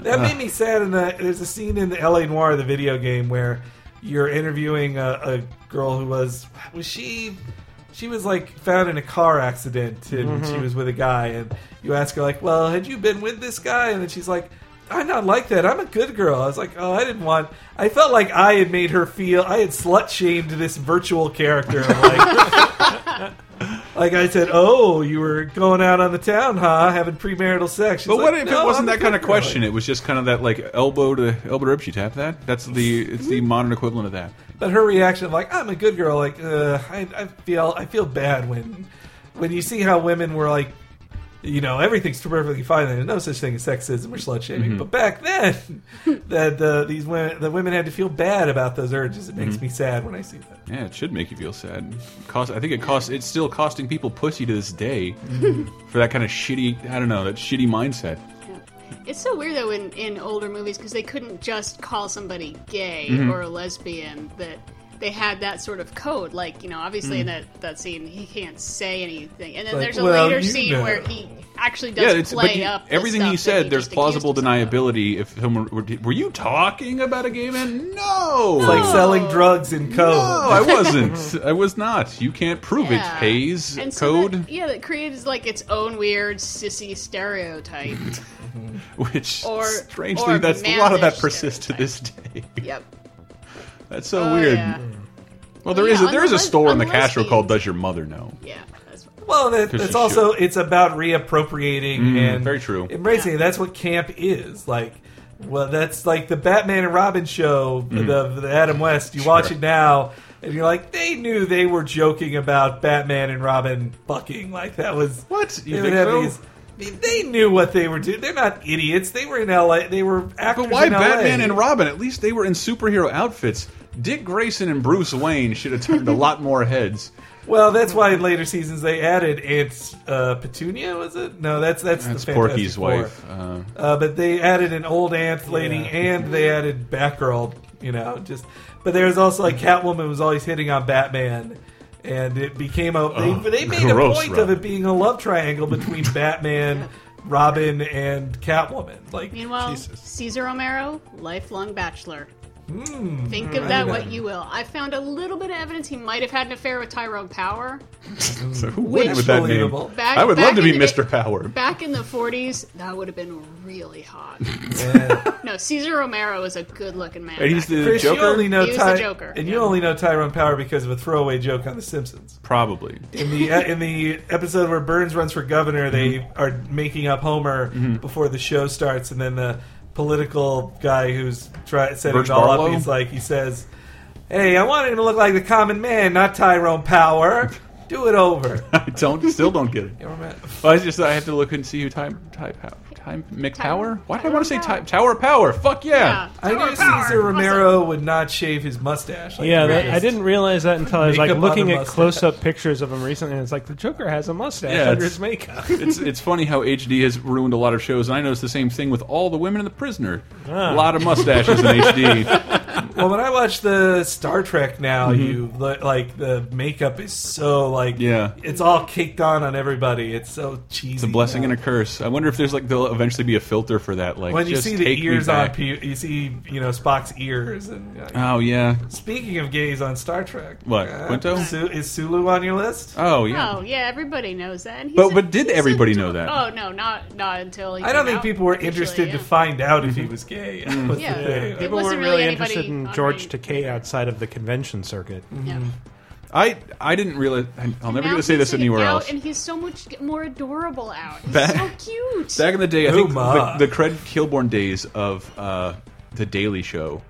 That
Uh.
made me sad. In the there's a scene in the L.A. Noir, the video game, where you're interviewing a, a girl who was was she she was like found in a car accident and
Mm-hmm.
she was with a guy, and you ask her like, "Well, had you been with this guy?" And then she's like. I'm not like that. I'm a good girl. I was like, oh, I didn't want. I felt like I had made her feel. I had slut shamed this virtual character. of, Like, like I said, oh, you were going out on the town, huh? Having premarital sex. She's
But what
like,
if
"No,
it wasn't
I'm a
that kind of
good girl."
question? It was just kind of that like elbow to elbow to ribs. You tap that. That's the it's the modern equivalent of that.
But her reaction, like I'm a good girl, like uh, I, I feel I feel bad when when you see how women were like, you know, everything's perfectly fine. There's no such thing as sexism or slut shaming. But back then, that the these women the women had to feel bad about those urges. It makes me sad when I see that.
Yeah, it should make you feel sad. Cost, I think it costs. It's still costing people pussy to this day for that kind of shitty. I don't know that shitty mindset.
It's so weird though in, in older movies because they couldn't just call somebody gay
Mm-hmm.
or a lesbian that they had that sort of code. Like you know,
Mm.
obviously in that, that scene he can't say anything, and then
Like,
there's a
well,
later
you
scene
know.
where he actually
yeah,
does
it's but
play
you-
up the
everything
stuff
you
that
said.
he
there's
just
plausible
accused himself of.
deniability. If someone were, were you talking about a gay man? No,
It's like selling drugs in
no,
code.
I wasn't. I was not. You can't prove
Yeah.
it. Hayes
And so
code.
that- yeah, that creates like its own weird sissy stereotype.
Which
Or-
strangely,
or
that's a lot of that
mannish
persists to this day.
yep.
That's so
Oh,
weird.
yeah.
Well, there
Yeah,
is a, there is a
unless-
store in the
unless
Castro
we-
called "Does Your Mother Know?"
Yeah. That's,
Well, that,
Because
that's
you
also
should.
it's about reappropriating and
very true.
embracing. it. That's what camp is like. Well, that's like the Batman and Robin show, the, the Adam West. You watch
Mm. Sure.
it now, and you're like, they knew they were joking about Batman and Robin fucking. Like that was
What? You
they would
think
have
so?
these- they- They knew what they were doing. They're not idiots. They were in L.A. They were actors.
But why
in LA.
Batman and Robin? At least they were in superhero outfits. Dick Grayson and Bruce Wayne should have turned a lot more heads.
Well, that's why in later seasons they added Aunt uh, Petunia. Was it? No, that's that's,
That's
the Fantastic
Porky's
Four.
wife. Uh,
Uh, but they added an old aunt lady, and they added Batgirl. You know, just but there was also like Catwoman was always hitting on Batman, and it became a they, they made
Oh, gross,
a point of
Robin.
it being a love triangle between Batman, Robin, and Catwoman. Like,
Meanwhile, Caesar Romero, lifelong bachelor.
Hmm.
Think of that what you will. I found a little bit of evidence he might have had an affair with Tyrone Power.
so who wouldn't with that name?
believable.
Back,
I would
back
love to
in
be
the day-
Mr. Power.
Back in the 40s, that would have been really hot.
Yeah.
No, Caesar Romero was a good looking man.
And he's
back then.
the
Chris,
Joker?
you only know
He was the Joker,
and you
yeah.
only know Tyrone Power because of a throwaway joke on The Simpsons.
Probably.
in the e, in the episode where Burns runs for governor, they
Mm-hmm.
are making up Homer before the show starts, and then the political guy who's try, setting
Birch
it all
Barlow?
up, he's like, he says, "Hey, I want him to look like the common man, not Tyrone Power." Do it over.
I don't still don't get it.
Never met.
Well, I just I have to look and see who time time time McPower. Why did I want to say time, Tower Power? Fuck yeah!
I knew Caesar Romero would not shave his mustache. Like
Yeah,
the
that,
rest.
I didn't realize that until I was like
Makeup on
looking
a
at
mustache.
close-up pictures of him recently, and it's like the Joker has a mustache
Yeah,
under
it's-
his makeup.
It's it's funny how HD has ruined a lot of shows, and I noticed the same thing with all the women in The Prisoner.
Ah.
A lot of mustaches in HD.
Well, when I watch the Star Trek now,
Mm-hmm.
you li- like the makeup is so like
Yeah.
it's all caked on on everybody. It's so cheesy.
It's a blessing and a curse. I wonder if there's like there'll eventually be a filter for that. Like
When you
just
see the
take me
ears on,
back.
pe- you see you know Spock's ears and. uh,
Oh yeah.
Speaking of gays on Star Trek, uh,
What, Quinto?
Su- is Sulu on your list?
Oh yeah.
Oh yeah, everybody knows that. And he's
But-
a-
but did
he's a
everybody
do-
know that?
Oh no, not not until he
I don't
came
think
out
people were
officially,
interested
yeah.
to find out
Mm-hmm.
if he was gay. was the
Yeah.
thing.
It
People
wasn't
weren't
really
really
anybody
interested in
on
George
the-
Takei outside of the convention circuit.
Yeah.
I I didn't realize. I- I'll never
Now
get to say
he's
this anywhere
out,
else.
And he's so much more adorable out. He's
Back-
so cute.
Back in the day, I think
Uma.
the, the Craig Kilborn days of uh, the Daily Show,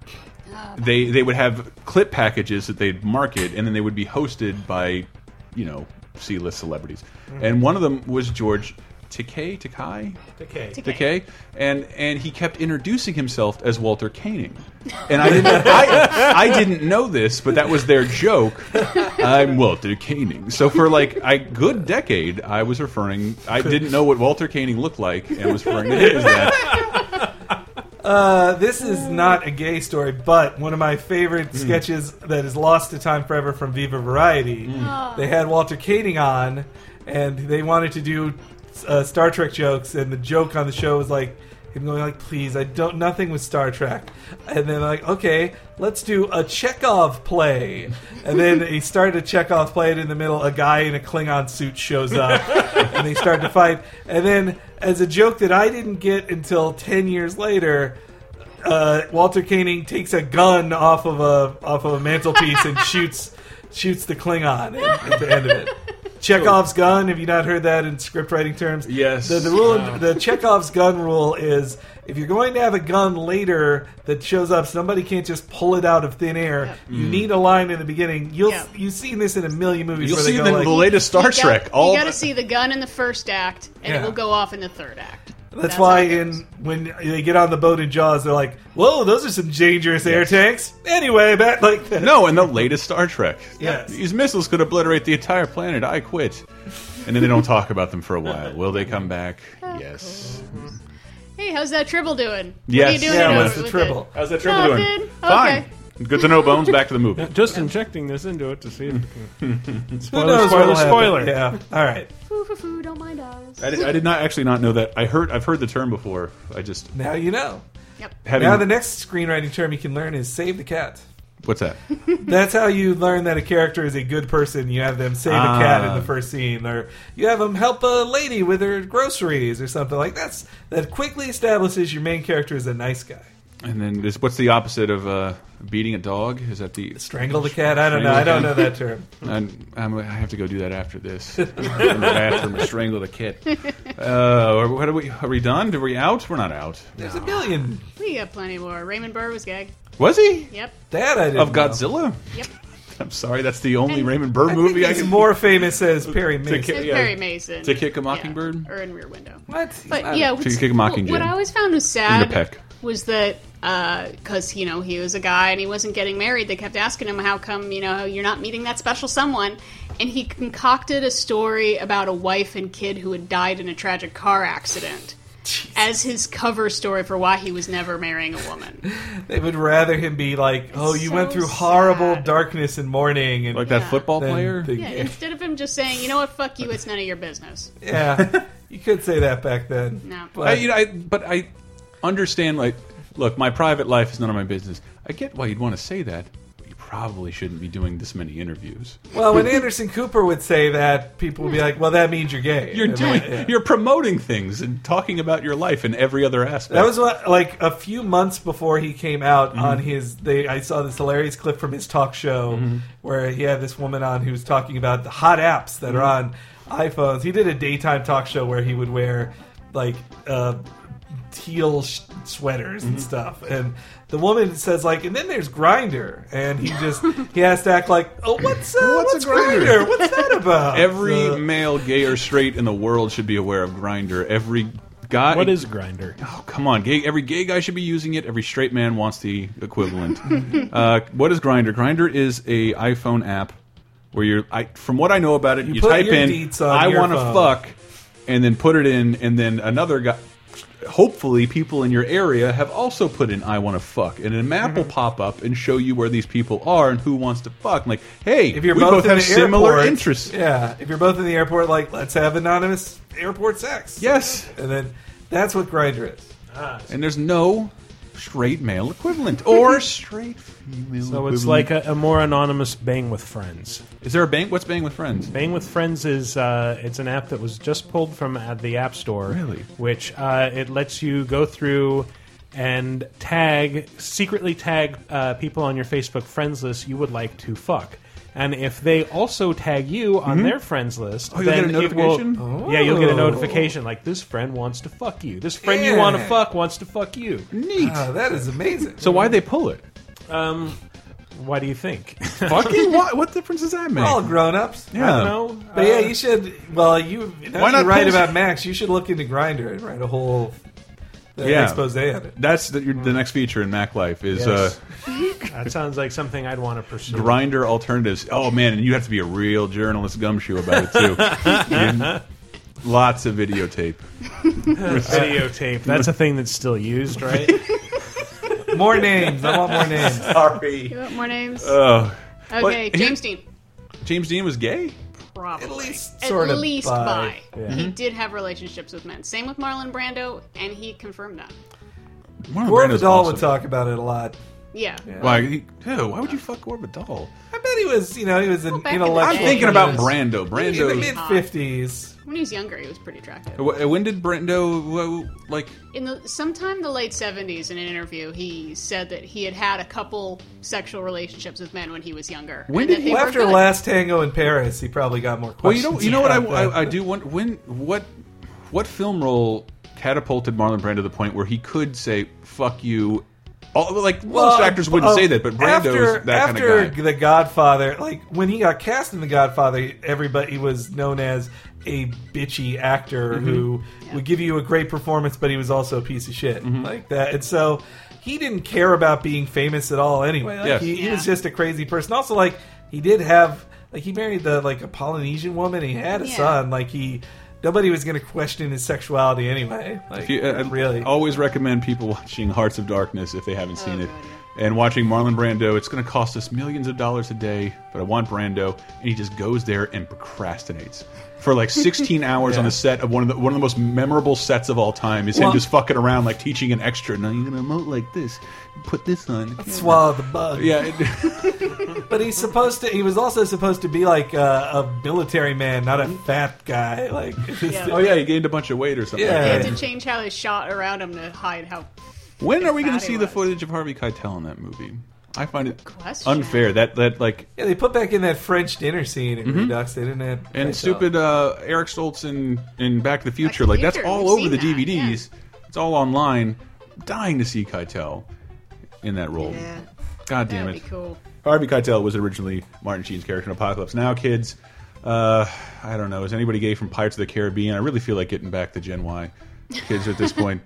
they they would have clip packages that they'd market, and then they would be hosted by, you know, C-list celebrities. And one of them was George Takei, Takai,
Okay.
Takei, and and he kept introducing himself as Walter Koenig. And I didn't I, I didn't know this, but that was their joke. I'm Walter Koenig. So for like a good decade, I was referring. I didn't know what Walter Koenig looked like, and was referring to him as that.
Uh, this is not a gay story, but one of my favorite sketches that is lost to time forever from Viva Variety. They had Walter Koenig on, and they wanted to do uh, Star Trek jokes, and the joke on the show was like. Him going like, please, I don't nothing with Star Trek, and then like, okay, let's do a Chekhov play, and then he started a Chekhov play, and in the middle, a guy in a Klingon suit shows up, and they start to fight, and then as a joke that I didn't get until ten years later, uh, Walter Koenig takes a gun off of a off of a mantelpiece and shoots shoots the Klingon at, at the end of it. Chekhov's gun. Have you not heard that in script writing terms?
Yes.
The, the rule, the Chekhov's gun rule is if you're going to have a gun later that shows up, somebody can't just pull it out of thin air.
Mm.
You need a line in the beginning. You'll
Yeah.
you've seen this in a million movies.
You'll
where they
see
go
the,
like,
the latest Star
You got-
Trek. all
you got to see the gun in the first act, and
Yeah.
it will go off in the third act.
That's,
how
why
it
in
goes.
when they get on the boat in Jaws, they're like, "Whoa, those are some dangerous air tanks." Anyway, back like that.
no, and the latest Star Trek.
Yes.
These missiles could obliterate the entire planet. I quit. And then they don't talk about them for a while. Will they come back? Yes.
hey, how's that tribble doing? What are you
Yes.
doing
Yeah,
over
what's the
with
tribble?
It?
How's that triple doing?
Nothing.
Fine. Good to know, Bones. Back to the movie.
Just injecting this into it to see. If
Who
Spoiler,
knows
spoiler,
what'll happen?
spoiler.
Yeah. All right.
Foo, foo, foo, don't mind us.
I did, I did not actually not know that. I heard I've heard the term before. I just
Now you know.
Yep.
having
Now the next screenwriting term you can learn is save the cat.
what's that?
That's how you learn that a character is a good person. You have them save a cat in the first scene, or you have them help a lady with her groceries, or something like that's that quickly establishes your main character is a nice guy.
And then this, what's the opposite of uh, beating a dog? Is that the?
Strangle the cat. I don't know. I don't know that term.
I'm, I'm, I have to go do that after this. In the bathroom, strangle the kid. Uh, or what are we? Are we done? Are we out? We're not out.
There's a million.
We got plenty more. Raymond Burr was gagged.
Was he
Yep.
That I didn't
of
know.
Godzilla?
Yep.
I'm sorry, that's the only Raymond Burr movie I,
He's
can.
more famous as Perry Mason.
It's
Yeah.
Perry Mason.
To Kick a Mockingbird?
Yeah. Or in Rear Window.
What? He's
But
not-
yeah, what's-
Kick a Mockingjay.
What I always found was
In the
sad
peck.
was that because you know he was a guy and he wasn't getting married. They kept asking him, "How come you know you're not meeting that special someone?" And he concocted a story about a wife and kid who had died in a tragic car accident. As his cover story for why he was never marrying a woman.
They would rather him be like, "Oh, you
so
went through horrible
sad.
darkness and mourning," and
like that
Yeah.
football
then
player.
the-
Yeah, instead of him just saying, you know what, fuck you, it's none of your business.
Yeah, you could say that back then.
No.
but
I, you know, I, but I understand. Like, look, my private life is none of my business. I get why you'd want to say that. But you probably shouldn't be doing this many interviews.
well, when Anderson Cooper would say that, people would be like, "Well, that means you're gay."
You're
And
doing,
that- yeah.
you're promoting things and talking about your life in every other aspect.
That was what, like a few months before he came out
Mm-hmm.
on his. They, I saw this hilarious clip from his talk show
Mm-hmm.
where he had this woman on who was talking about the hot apps that are
Mm-hmm.
on iPhones. He did a daytime talk show where he would wear like uh, teal sh- sweaters and
Mm-hmm.
stuff. And the woman says like, and then there's Grinder, and he just he has to act like, oh, what's uh, what's,
What's a Grindr?
Grinder? What's that about?
Every
So-
male, gay or straight in the world should be aware of Grinder. Every guy.
What is grinder?
Oh, come on, gay. Every gay guy should be using it. Every straight man wants the equivalent. uh, what is Grinder? Grinder is a iPhone app where you're. I, from what I know about it, you,
put
type
your
in
deets on
"I
your
want to
phone."
fuck," and then put it in, and then another guy. Hopefully, people in your area have also put in "I want to fuck," and a map
Mm-hmm.
will pop up and show you where these people are and who wants to fuck. like, hey,
if you're
we
both,
both
in
have
the
similar
airport,
interests.
Yeah, if you're both in the airport, like let's have anonymous airport sex.
Yes.
and then that's what grinder is.
and there's no straight male equivalent or straight female.
So
equivalent.
it's like a, a more anonymous bang with friends.
is there a bank? What's bang with friends?
Bang with Friends is uh, it's an app that was just pulled from uh, the App Store.
Really?
Which uh, it lets you go through and tag secretly tag uh, people on your Facebook friends list you would like to fuck. And if they also tag you on their friends list,
Mm-hmm. Oh, you'll
then
get a
it will-
notification?
yeah, you'll get a
Oh.
notification like this friend wants to fuck you. This friend you want to
Yeah.
fuck wants to fuck you.
Neat.
Ah, that is amazing.
so why they pull it?
Um, why do you think?
Fucking what? What difference does that make?
all grown ups.
yeah.
no.
But yeah, you should. Well, you.
Why
Why
not
not right
post-
about Max? You should look into Grinder and write a whole uh,
Yeah.
expose on it.
That's the, your, the next feature in Mac Life is uh,
Yes. that sounds like something I'd want to pursue.
grinder alternatives. Oh man, and you have to be a real journalist gumshoe about it too. And lots of videotape.
videotape. That's a thing that's still used, right?
More names. I want more names.
Sorry.
You want more names?
Oh,
okay,
but-
James Dean.
James Dean was gay.
Probably. At
least sort of
least
bi.
bi. He did have relationships with men. Same with Marlon Brando, and he confirmed that.
Marlon
Gore
Brando's
Vidal
awesome.
would talk about it a lot.
Yeah.
Why? he- Ew, why would you fuck Gore Vidal?
I bet he was. You know, he was an
back in the
intellectual.
I'm
Yeah.
thinking about
genius.
Brando.
in the
Brando.
mid fifties.
When he was younger, he was pretty attractive.
Wh- When did Brando wh- like?
in the sometime the late 70s in an interview he said that he had had a couple sexual relationships with men when he was younger
When
and
did
that
he-
they
Well,
were
after
good.
Last Tango in Paris, he probably got more
Well, you
questions.
know, you know what I,
about that.
I, I do want when what what film role catapulted Marlon Brando to the point where he could say "fuck you." All, like most actors wouldn't
uh,
say that, but Brando's
after,
that
after
kind of guy.
The Godfather, like when he got cast in The Godfather, everybody he was known as a bitchy actor
Mm-hmm.
who would give you a great performance, but he was also a piece of shit
Mm-hmm.
like that. And so he didn't care about being famous at all anyway. Like,
Yes.
he, he was
Yeah.
just a crazy person. Also, like he did have like he married the like a Polynesian woman. He had a
Yeah.
son. Like he. Nobody was going to question his sexuality anyway. Like,
If you- oh. I- I
really?
uh, always recommend people watching Hearts of Darkness if they haven't seen it,
God,
and watching Marlon Brando. It's going to cost us millions of dollars a day, but I want Brando, and he just goes there and procrastinates. For like 16 hours on the set of one of the one of the most memorable sets of all time is him
Well-
just fucking around like teaching an extra. Now you're gonna emote like this, put this on.
Swallow the bug.
Yeah, it-
But he's supposed to. He was also supposed to be like a, a military man, not a fat guy. Like,
Oh yeah, he gained a bunch of weight or something.
Yeah.
Like
They
that.
had to change how they shot around him to hide how
When are we going
Fatty
to see the
was.
footage of Harvey Keitel in that movie? I find it
Question.
unfair that that like
yeah, they put back in that French dinner scene in Redux. They didn't have
Mm-hmm. and
I thought.
stupid uh, Eric Stoltz in in Back to the Future
the
like that's
Future,
all
we've
over
seen
the
that,
DVDs. It's all online. Dying to see Keitel in that role.
yeah
God damn
that'd
it.
be cool
Harvey Keitel was originally Martin Sheen's character in Apocalypse Now, kids. Uh, I don't know. Is anybody gay from Pirates of the Caribbean? I really feel like getting back to Gen Y kids at this point.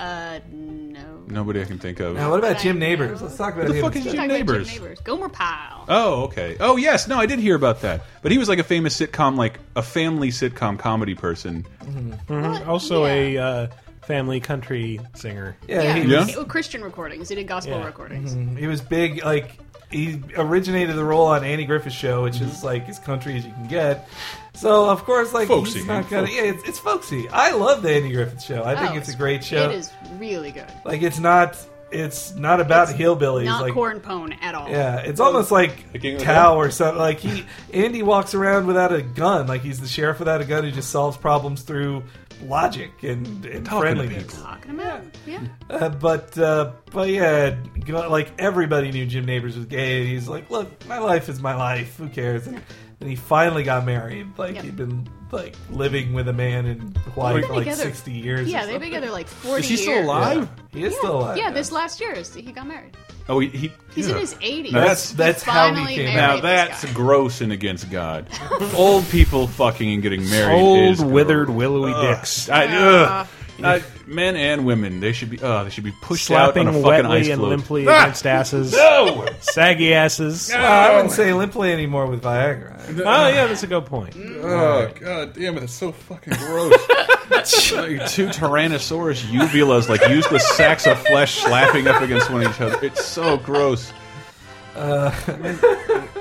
uh no
Nobody I can think of.
Now, what about
I
Jim
know.
Neighbors? Let's talk about
the
him
fuck is
instead.
Jim
Talking about
Neighbors.
neighbors Gomer Pyle
Oh, okay. Oh, yes. No, I did hear about that. But he was like a famous sitcom, like a family sitcom comedy person.
Uh-huh. Also
Yeah.
a uh, family country singer.
Yeah,
yeah,
He,
Yeah.
It was Christian recordings. He did gospel
Yeah. Mm-hmm.
recordings.
Was, he was big. Like he originated the role on Andy Griffith's show, which
Mm-hmm.
is like as country as you can get. So of course, like
Folksy,
he's not
man,
gonna. Yeah, it's, it's folksy. I love the Andy Griffith show. I think
Oh,
it's, a great show.
It is really good.
Like it's not. It's not about hillbillies.
Not
like
corn pone at all.
Yeah, it's almost like
King of the
Tao or something. Like he, Andy walks around without a gun, like he's the sheriff without a gun who just solves problems through logic and,
Talking
and
to
friendliness.
people.
Talking about yeah.
Uh, but uh, but yeah, you know, like everybody knew Jim Neighbors was gay. And he's like, look, my life is my life. Who cares? And then he finally got married. Like
Yep.
he'd been like living with a man in Hawaii
They've
for
been
like
together-
sixty years.
Yeah,
or
they've been
something.
together like forty.
Is he still
years.
alive?
He is still alive.
Yeah, this last year is- he got married.
Oh, he. he
He's in
yeah.
his eighties.
Now that's-
that's how he came out.
Now that's gross and against God. Old people fucking and getting married
Old,
is
withered,
gross.
willowy
Ugh.
dicks.
I, ugh. I- men and women, they should be. Uh, they should be pushed out on a
Slapping
fucking ice
wetly and
float.
limply
Ah!
against asses.
No.
Saggy asses.
Well, I wouldn't say limply anymore with Viagra.
Oh, yeah, that's a good point.
Mm.
Oh god damn it! That's so fucking gross.
like two Tyrannosaurus uvulas, like useless sacks of flesh slapping up against one each other. It's so gross.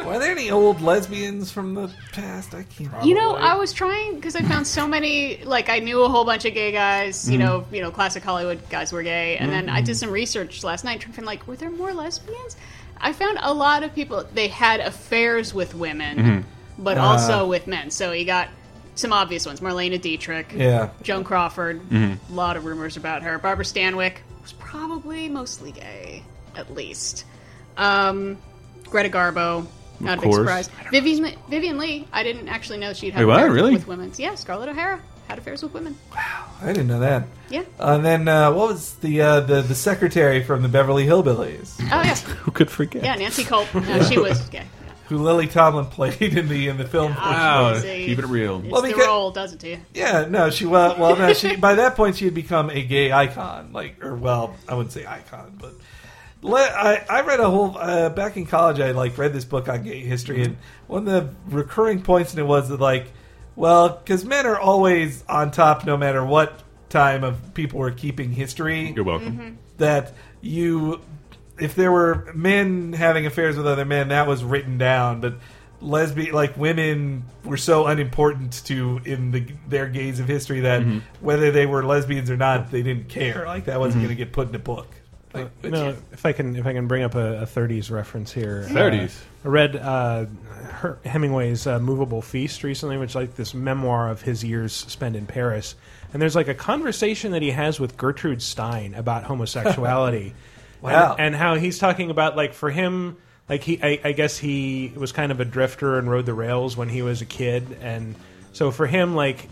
Were there any old lesbians from the past? I can't.
You know, I was trying because I found so many. Like, I knew a whole bunch of gay guys.
Mm-hmm.
You know, you know, classic Hollywood guys were gay, and then I did some research last night trying to find like, were there more lesbians? I found a lot of people. They had affairs with women,
Mm-hmm.
but
Uh.
also with men. So you got some obvious ones: Marlena Dietrich,
Yeah.
Joan Crawford.
Mm-hmm.
A lot of rumors about her. Barbara Stanwyck was probably mostly gay, at least. Um, Greta Garbo, not a big
course.
surprise. Vivian Li- Vivian Lee. I didn't actually know she'd had
Wait, what?
affairs
Really?
with women. Yeah, Scarlett O'Hara had affairs with women.
I didn't know that.
Yeah. Oh,
And then uh, what was the uh, the the secretary from the Beverly Hillbillies?
Oh yeah,
Who could forget?
yeah. Nancy Culp. No, she was gay.
who Lily Tomlin played in the in the film.
Ah, Wow,
Obviously.
keep it real.
It's
Well,
the
because-
role, does it to you?
Yeah, no, she well, well, no, she by that point she had become a gay icon, like, or well, I wouldn't say icon, but le- I, I read a whole uh, back in college. I like read this book on gay history, and one of the recurring points in it was that like, well, because men are always on top, no matter what time of people were keeping history
You're welcome.
that you if there were men having affairs with other men that was written down but lesbian like women were so unimportant to in the their gaze of history that whether they were lesbians or not they didn't care like that wasn't going to get put in a book like, which
No,
is-
if I can, if I can bring up a, a '30s reference here.
Mm-hmm.
Uh,
30s.
I read uh, Her- Hemingway's uh, Movable Feast recently, which is like this memoir of his years spent in Paris. And there's like a conversation that he has with Gertrude Stein about homosexuality.
Wow.
And, and how he's talking about like for him, like he, I, I guess he was kind of a drifter and rode the rails when he was a kid, and so for him, like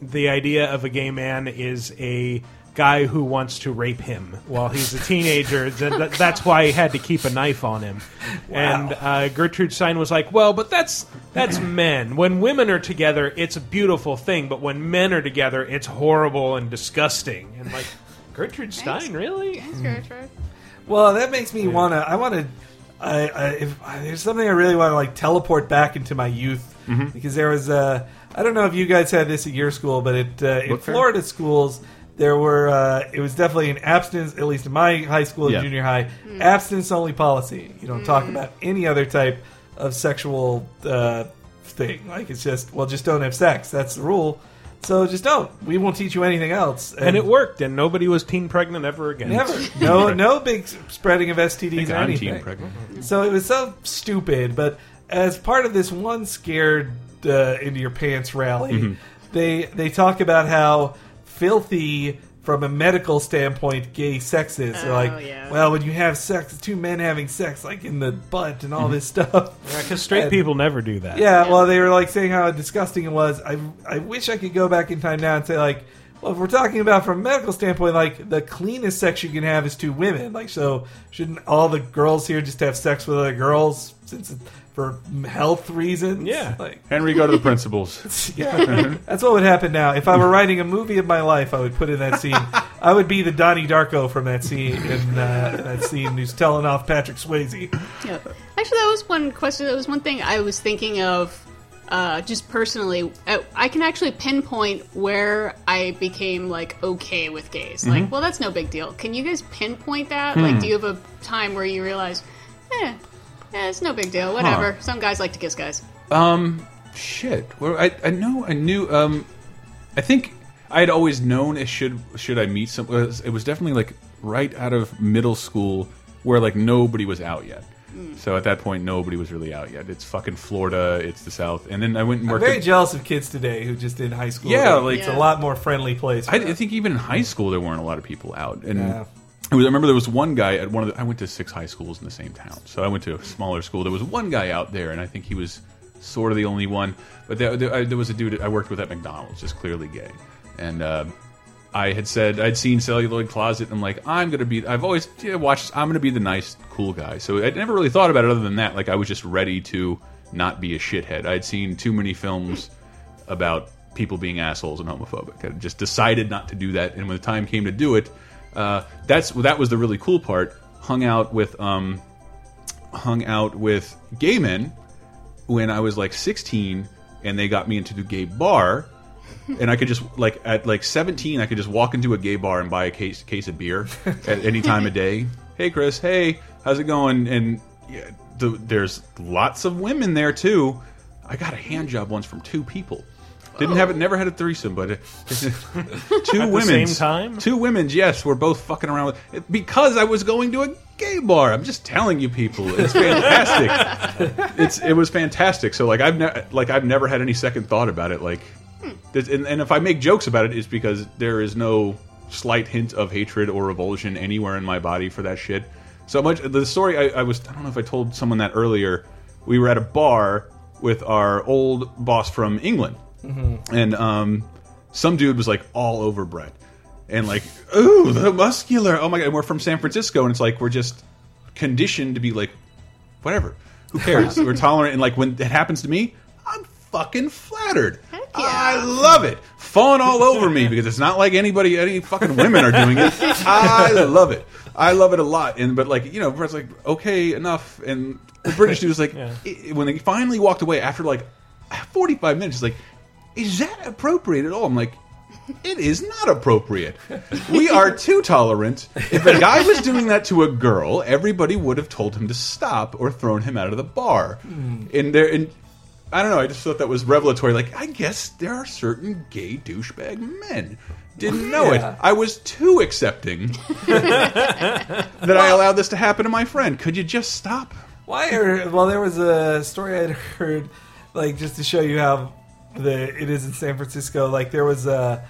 the idea of a gay man is a guy who wants to rape him while he's a teenager. Th- th- that's why he had to keep a knife on him. And uh, Gertrude Stein was like, "Well, but that's that's men. When women are together, it's a beautiful thing, but when men are together, it's horrible and disgusting." And like. Gertrude
Thanks.
Stein, really?
That's right, that's right.
well that makes me want to i want to I, I, if I, there's something I really want to like teleport back into my youth
Mm-hmm.
because there was uh, I don't know if you guys had this at your school, but it, uh, in
fair?
Florida schools there were uh, it was definitely an abstinence at least in my high school and
Yeah.
junior high abstinence only policy. You don't talk about any other type of sexual uh, thing. Like it's just well, just don't have sex. That's the rule. So just don't. We won't teach you anything else.
And it worked, and nobody was teen pregnant ever again.
Never. No, no big spreading of STDs or
I'm
anything.
team pregnant.
So it was so stupid, but as part of this one scared uh, into your pants rally, they they talk about how filthy from a medical standpoint gay sex is. They're
Oh,
like,
yeah.
well, when you have sex, two men having sex like in the butt and all this stuff.
Because straight
And-
people never do that.
Yeah, well, they were like saying how disgusting it was. I, I wish I could go back in time now and say like, well, if we're talking about from a medical standpoint, like the cleanest sex you can have is two women. Like, so shouldn't all the girls here just have sex with other girls since for health reasons?
Yeah.
like
Henry, go to the principals.
yeah, that's what would happen now. If I were writing a movie of my life, I would put in that scene. I would be the Donnie Darko from that scene in uh, that scene who's telling off Patrick Swayze.
Yeah. Actually, that was one question. That was one thing I was thinking of, uh, just personally. I, I can actually pinpoint where I became like okay with gays. Like,
Mm-hmm.
well, that's no big deal. Can you guys pinpoint that?
Hmm.
Like, do you have a time where you realize, eh, eh it's no big deal. Whatever. Some guys like to kiss guys.
Um, shit. Well, I I know I knew. Um, I think I had always known it should should I meet some. It was, it was definitely like right out of middle school where like nobody was out yet.
Mm.
So at that point, nobody was really out yet. It's fucking Florida. It's the South. And then I went and
I'm
worked.
very
at-
jealous of kids today who just did high school.
Yeah,
They-
like-
it's a lot more friendly place.
I, I think even in high school there weren't a lot of people out, and
Yeah.
it was, I remember there was one guy at one of the. I went to six high schools in the same town, so I went to a smaller school. There was one guy out there, and I think he was sort of the only one. But there, there, I, there was a dude I worked with at McDonald's, just clearly gay, and. Uh, I had said I'd seen Celluloid Closet, and I'm like, I'm gonna be. I've always yeah, watched. I'm gonna be the nice, cool guy. So I never really thought about it other than that. Like I was just ready to not be a shithead. I'd seen too many films about people being assholes and homophobic. I just decided not to do that. And when the time came to do it, uh, that's that was the really cool part. Hung out with um, hung out with gay men when I was like 16, and they got me into the gay bar. And I could just like at like 17, I could just walk into a gay bar and buy a case case of beer at any time of day. Hey, Chris. Hey, how's it going? And yeah, the, there's lots of women there too. I got a hand job once from two people. Didn't have it. Never had a threesome, but uh, two
the
women.
same time?
Two women's, yes, were both fucking around with because I was going to a gay bar. I'm just telling you, people, it's fantastic. it's it was fantastic. So like I've ne like I've never had any second thought about it. Like, this, and, and if I make jokes about it, it's because there is no slight hint of hatred or revulsion anywhere in my body for that shit. So much the story I, I was I don't know if I told someone that earlier. We were at a bar with our old boss from England, and um, some dude was like all over Brett, and like, ooh, the muscular. Oh my god, and we're from San Francisco, and it's like we're just conditioned to be like, whatever, who cares? we're tolerant, and like when it happens to me, I'm fucking flattered.
yeah.
I love it. Fawn all over me because it's not like anybody, any fucking women are doing it. I love it. I love it a lot. And but like you know, Brett's like, okay, enough. And the British dude was like, i- when they finally walked away after like 45 minutes, he's like, is that appropriate at all? I'm like, it is not appropriate. We are too tolerant. If a guy was doing that to a girl, everybody would have told him to stop or thrown him out of the bar. And there, and I don't know. I just thought that was revelatory. Like, I guess there are certain gay douchebag men. Didn't know
Yeah.
it. I was too accepting that I allowed this to happen to my friend. Could you just stop?
Why are well? There was a story I'd heard, like just to show you how the it is in San Francisco. Like there was a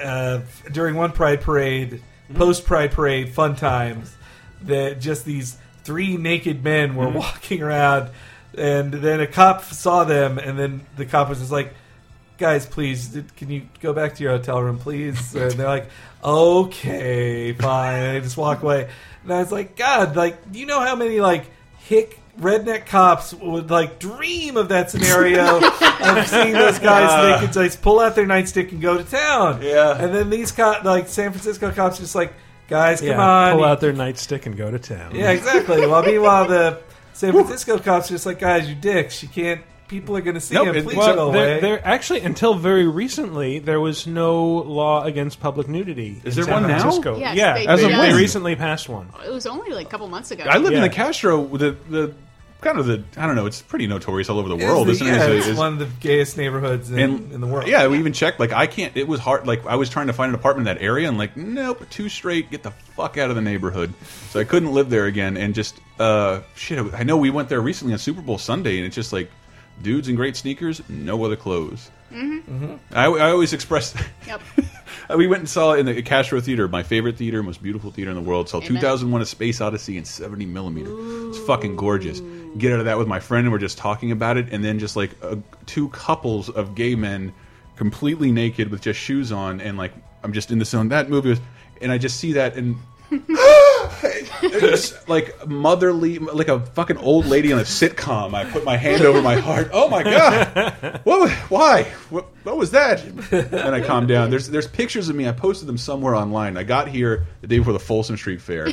uh, during one Pride Parade, post Pride Parade, fun times. That just these three naked men were walking around, and then a cop saw them, and then the cop was just like. Guys, please, did- can you go back to your hotel room, please? And they're like, okay, fine. And they just walk away. And I was like, God, like, you know how many, like, hick redneck cops would like dream of that scenario of seeing those guys naked so they could pull out their nightstick and go to town.
Yeah.
And then these co- like San Francisco cops just like, guys, come
yeah,
on.
pull out their nightstick and go to town.
yeah, exactly. Well meanwhile the San Francisco cops are just like, guys, you dicks, you can't people are gonna see
Nope,
him,
it-
please
well,
go away.
There, there, actually, until very recently, there was no law against public nudity.
Is there
in San
one now?
Francisco.
Yes,
yeah,
they
as of
just-
they recently passed one.
It was only like a couple months ago.
I live in
Yeah.
the Castro. The the kind of the I don't know. It's pretty notorious all over the
It's
world,
the-
isn't
yeah,
it?
it's one of the gayest neighborhoods in, in the world.
Yeah, we even checked. Like, I can't. It was hard. Like, I was trying to find an apartment in that area, and like, nope, too straight. Get the fuck out of the neighborhood. So I couldn't live there again. And just uh, shit. I know we went there recently on Super Bowl Sunday, and it's just like dudes in great sneakers, no other clothes.
Mm-hmm.
Mm-hmm. I, I always express.
Yep.
we went and saw it in the Castro Theater, my favorite theater, most beautiful theater in the world. Saw 2001: A Space Odyssey in 70 millimeter. It's fucking gorgeous. Get out of that with my friend, and we're just talking about it, and then just like uh, two couples of gay men, completely naked with just shoes on, and like I'm just in the zone. That movie was, and I just see that and. It's like motherly, like a fucking old lady on a sitcom. I put my hand over my heart. Oh my god! What? was- Why? What, what was that? And I calmed down. There's there's pictures of me. I posted them somewhere online. I got here the day before the Folsom Street Fair,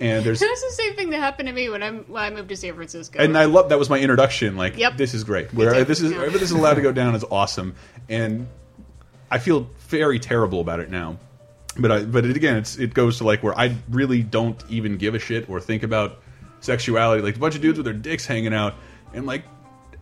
and there's
It was the same thing that happened to me when I when I moved to San Francisco.
and I love that was my introduction. Like,
Yep.
this is great. Where this is
Yeah.
wherever this is allowed to go down is awesome, and I feel very terrible about it now. But I, but it, again, it's it goes to like where I really don't even give a shit or think about sexuality. Like a bunch of dudes with their dicks hanging out, and like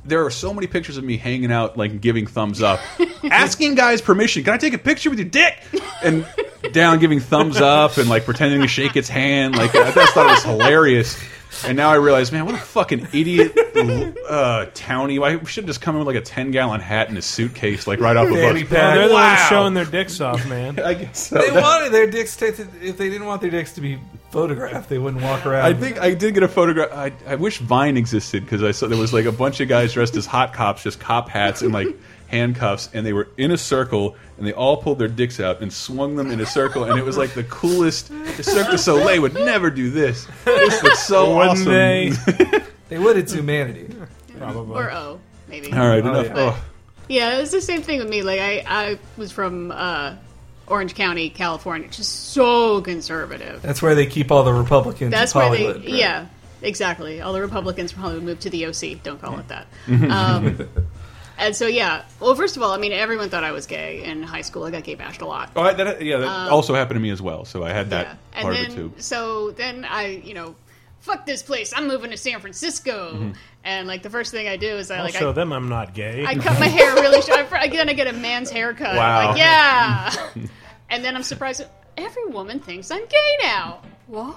there are so many pictures of me hanging out, like giving thumbs up, asking guys permission. Can I take a picture with your dick? And down, giving thumbs up, and like pretending to shake its hand. Like I just thought it was hilarious. And now I realize, man, what a fucking idiot uh, townie. I should have just come in with like a 10 gallon hat and a suitcase, like right off the
Fanny
boat.
pack.
they're the ones
Wow.
showing their dicks off, man.
I guess so.
They
That-
wanted their dicks to, to- if they didn't want their dicks to be photographed, they wouldn't walk around.
I think I did get a photograph. I, I wish Vine existed because I saw there was like a bunch of guys dressed as hot cops, just cop hats and like handcuffs, and they were in a circle and they all pulled their dicks out and swung them in a circle, and it was like the coolest. The Cirque du Soleil would never do this. This looks so
Wouldn't
awesome.
they?
they would. It's humanity.
Probably.
or O, maybe.
all right, enough.
yeah.
Oh,
Yeah, it was the same thing with me. Like I, I was from uh, Orange County, California, just so conservative.
That's where they keep all the Republicans.
That's
in
where
Hollywood,
they,
right?
yeah, exactly. All the Republicans from Hollywood moved to the OC. Don't call it that. Um, and so yeah, well, first of all, I mean, everyone thought I was gay in high school. I got gay bashed a lot.
oh, I- that, yeah, that also happened to me as well. So I had that
Um, Yeah.
part
and
of it
then,
too.
So then I, you know, fuck this place. I'm moving to San Francisco.
Mm-hmm.
And like the first thing I do is I
I'll
like
show
I,
them I'm not gay.
I cut my hair really short. I, then I get a man's haircut.
Wow.
I'm like, yeah. and then I'm surprised. that Every woman thinks I'm gay now. What?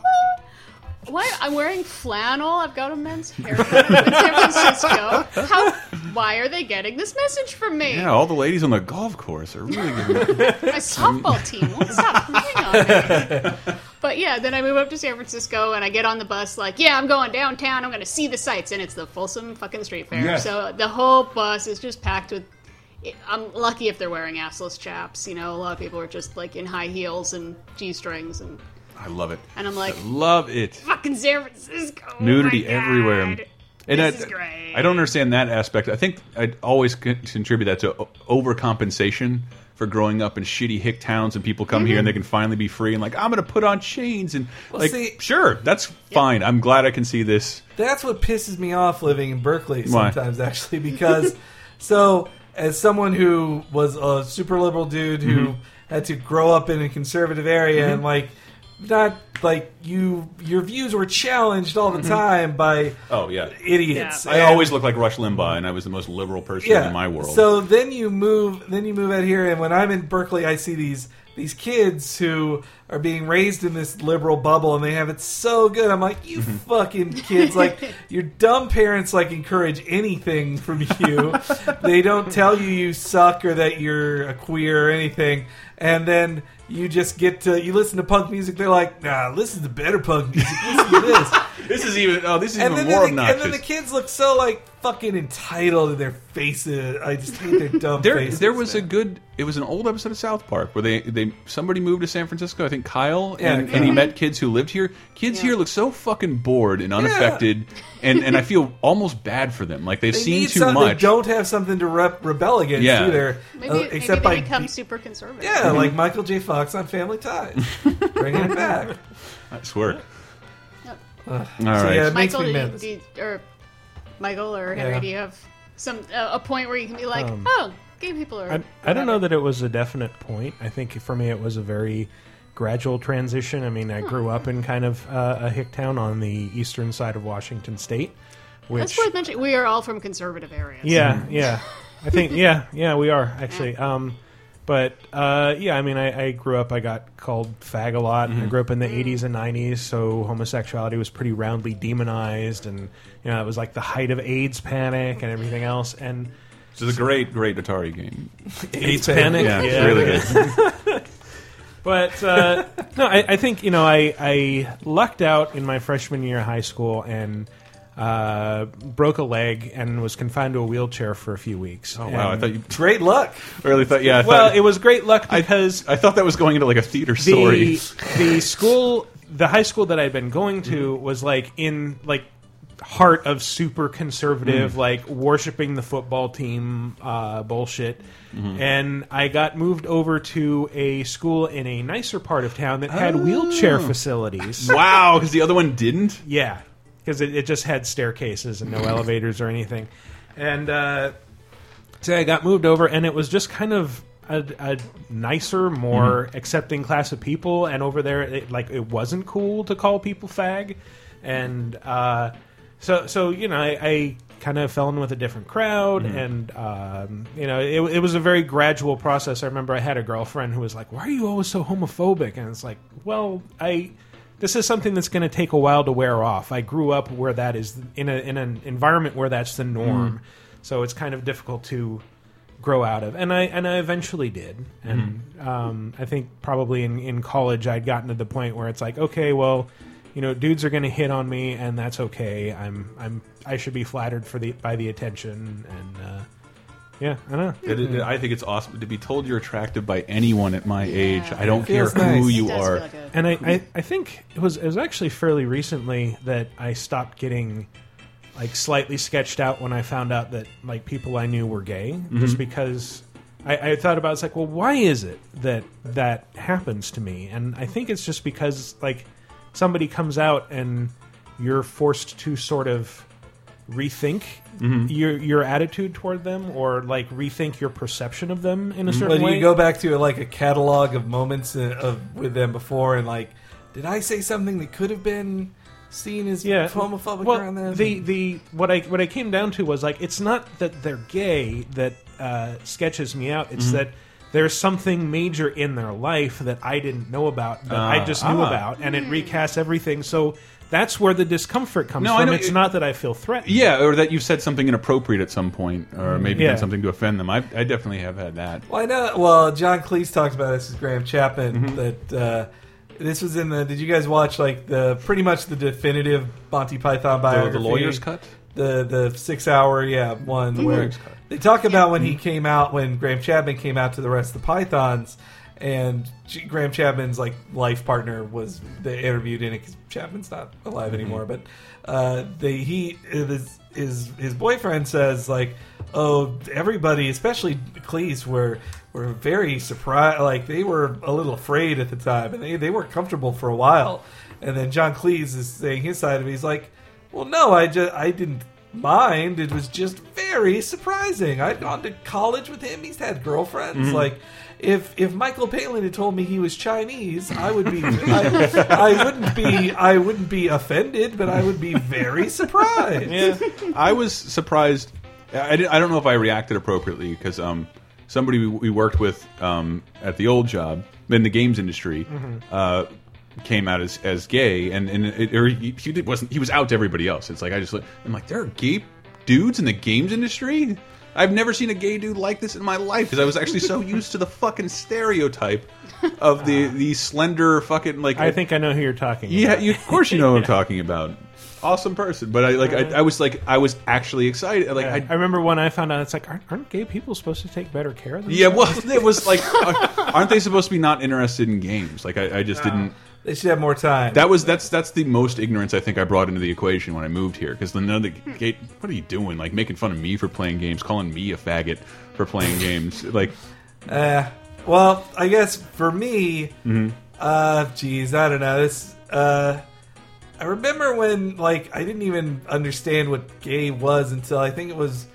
Why? I'm wearing flannel. I've got a men's haircut I'm in San Francisco. How? Why are they getting this message from me?
Yeah, all the ladies on the golf course are really good.
My softball team won't stop playing on me. But yeah, then I move up to San Francisco and I get on the bus like, yeah, I'm going downtown. I'm going to see the sights, and it's the Folsom fucking street fair.
Yes.
So the whole bus is just packed with. I'm lucky if they're wearing assless chaps. You know, a lot of people are just like in high heels and g strings, and
I love it.
And I'm like-
I love it.
fucking San Francisco Oh
nudity
my God.
everywhere. And
This
I,
is great.
I don't understand that aspect. I think I always con- contribute that to o- overcompensation for growing up in shitty hick towns, and people come here and they can finally be free and like I'm going to put on chains and like
Mm-hmm. see-
sure that's fine. I'm glad I can see this.
That's what pisses me off living in Berkeley
Why?
sometimes, actually, because so as someone who was a super liberal dude who
Mm-hmm.
had to grow up in a conservative area and like not like you your views were challenged all the time by
Mm-hmm. Oh yeah,
idiots.
I
And-
always looked like Rush Limbaugh, and I was the most liberal person in my world.
so then you move, then you move out here, and when I'm in Berkeley, I see these these kids who are being raised in this liberal bubble, and they have it so good. I'm like, you fucking kids! Like your dumb parents like encourage anything from you. they don't tell you you suck or that you're a queer or anything, and then. You just get to you listen to punk music. They're like, nah, listen to better punk music. Listen to this.
this is even oh this is
and
even
then,
more
the,
obnoxious.
and then the kids look so like fucking entitled in their faces. I just hate their dumb
There,
faces.
there was a good. It was an old episode of South Park where they, they somebody moved to San Francisco. I think Kyle,
Yeah,
and,
Kyle.
and he met kids who lived here. Kids here look so fucking bored and unaffected, and and I feel almost bad for them. Like they've
they
seen
need
too
some-
much.
They don't have something to rep- rebel against
Yeah. Mm-hmm.
either.
Maybe,
uh,
maybe
except
they
by
become super conservative.
yeah, like Michael J. Fox on Family Ties, bringing it back.
I swear.
Yep.
All right.
yeah, Makes
Michael,
me
do you,
nervous.
do you- or Michael or Henry,
Yeah.
do you have some uh, a point where you can be like,
Um,
oh, gay people are?
I, I don't know that it was a definite point. I think for me it was a very gradual transition. I mean, I grew up in kind of uh, a hick town on the eastern side of Washington State,
That's
which
worth mentioning. We are all from conservative areas.
yeah,
Mm.
yeah, I think yeah, yeah, we are actually. Um, but uh, yeah, I mean, I, I grew up. I got called fag a lot.
Mm-hmm.
I grew up in the '80s and '90s, so homosexuality was pretty roundly demonized, and you know, it was like the height of AIDS panic and everything else, and.
This is a great, great Atari game.
AIDS panic.
Yeah, it's really good.
But uh, no, I, I think you know I, I lucked out in my freshman year of high school and uh, broke a leg and was confined to a wheelchair for a few weeks.
Oh wow, I thought you
Great luck.
I really thought yeah. I
well,
thought,
it was great luck because
I thought that was going into like a theater story.
the the school the high school that I'd been going to was like in like heart of super conservative like worshiping the football team uh, bullshit and I got moved over to a school in a nicer part of town that had wheelchair facilities
Wow, because the other one didn't.
yeah because it, it just had staircases and no elevators or anything and uh, so I got moved over, and it was just kind of a, a nicer, more accepting class of people. And over there, it, like it wasn't cool to call people fag, and uh, so so you know I. I Kind of fell in with a different crowd, and um, you know it, it was a very gradual process. I remember I had a girlfriend who was like, "Why are you always so homophobic?" And it's like, "Well, I this is something that's going to take a while to wear off. I grew up where that is in a in an environment where that's the norm, so it's kind of difficult to grow out of. And I and I eventually did, and um, I think probably in in college I'd gotten to the point where it's like, okay, well. You know, dudes are going to hit on me, and that's okay. I'm, I'm, I should be flattered for the by the attention, and uh, yeah, I know.
It- it- I think it's awesome to be told you're attractive by anyone at my age. I don't care
feels
who
nice.
you
It does
are.
feel like a-
and I, I, I think it was it was actually fairly recently that I stopped getting like slightly sketched out when I found out that like people I knew were gay
Mm-hmm.
just because I, I thought about it, it's like well why is it that that happens to me and I think it's just because like somebody comes out and you're forced to sort of rethink
Mm-hmm.
your your attitude toward them or like rethink your perception of them in a certain
Well,
way
Mm-hmm. you go back to like a catalog of moments uh, of with them before, and like, did I say something that could have been seen as
yeah.
homophobic
well,
around them?
The the what I what I came down to was like it's not that they're gay that uh, sketches me out. It's
Mm-hmm.
that there's something major in their life that I didn't know about that I just knew
ah.
about, and it recasts everything. So that's where the discomfort comes
No, I
from.
know-
It's not that I feel threatened.
Yeah, or that you've said something inappropriate at some point, or maybe
Yeah.
done something to offend them. I, I definitely have had that.
Why not? Well, John Cleese talks about this with Graham Chapman
Mm-hmm.
that uh, this was in the. Did you guys watch like the pretty much the definitive Monty Python
The,
biography?
the lawyer's cut.
the the six hour yeah one where
Lyrics cut.
they talk about when he came out when Graham Chapman came out to the rest of the Pythons and G- Graham Chapman's like life partner was they interviewed in it because Chapman's not alive anymore but uh, they he his, his his boyfriend says like oh everybody especially Cleese were were very surprised like they were a little afraid at the time and they they weren't comfortable for a while and then John Cleese is saying his side of it he's like well, no, I just I didn't mind. It was just very surprising. I'd gone to college with him. He's had girlfriends. Like, if if Michael Palin had told me he was Chinese, I would be I, I wouldn't be I wouldn't be offended, but I would be very surprised.
I was surprised. I, I didn't- I don't know if I reacted appropriately because um, somebody we, we worked with um, at the old job in the games industry uh, came out as, as gay, and and it, or he, he did, wasn't. He was out to everybody else. It's like I just li- I'm like there are gay dudes in the games industry. I've never seen a gay dude like this in my life because I was actually so used to the fucking stereotype of the the slender fucking like
I think I know who you're talking.
yeah,
about.
you, of course you know what I'm talking about. Awesome person, but I like I, I was like I was actually excited. Like
I
I,
remember when I found out. It's like aren't, aren't gay people supposed to take better care of themselves?
yeah, well, it was like, uh, aren't they supposed to be not interested in games? Like I, I just didn't.
They should have more time.
That was that's that's the most ignorance I think I brought into the equation when I moved here because the none of the gate. What are you doing? Like making fun of me for playing games, calling me a faggot for playing games. Like
Uh, well, I guess for me, uh, geez, I don't know. This, uh, I remember when like I didn't even understand what gay was until I think it was.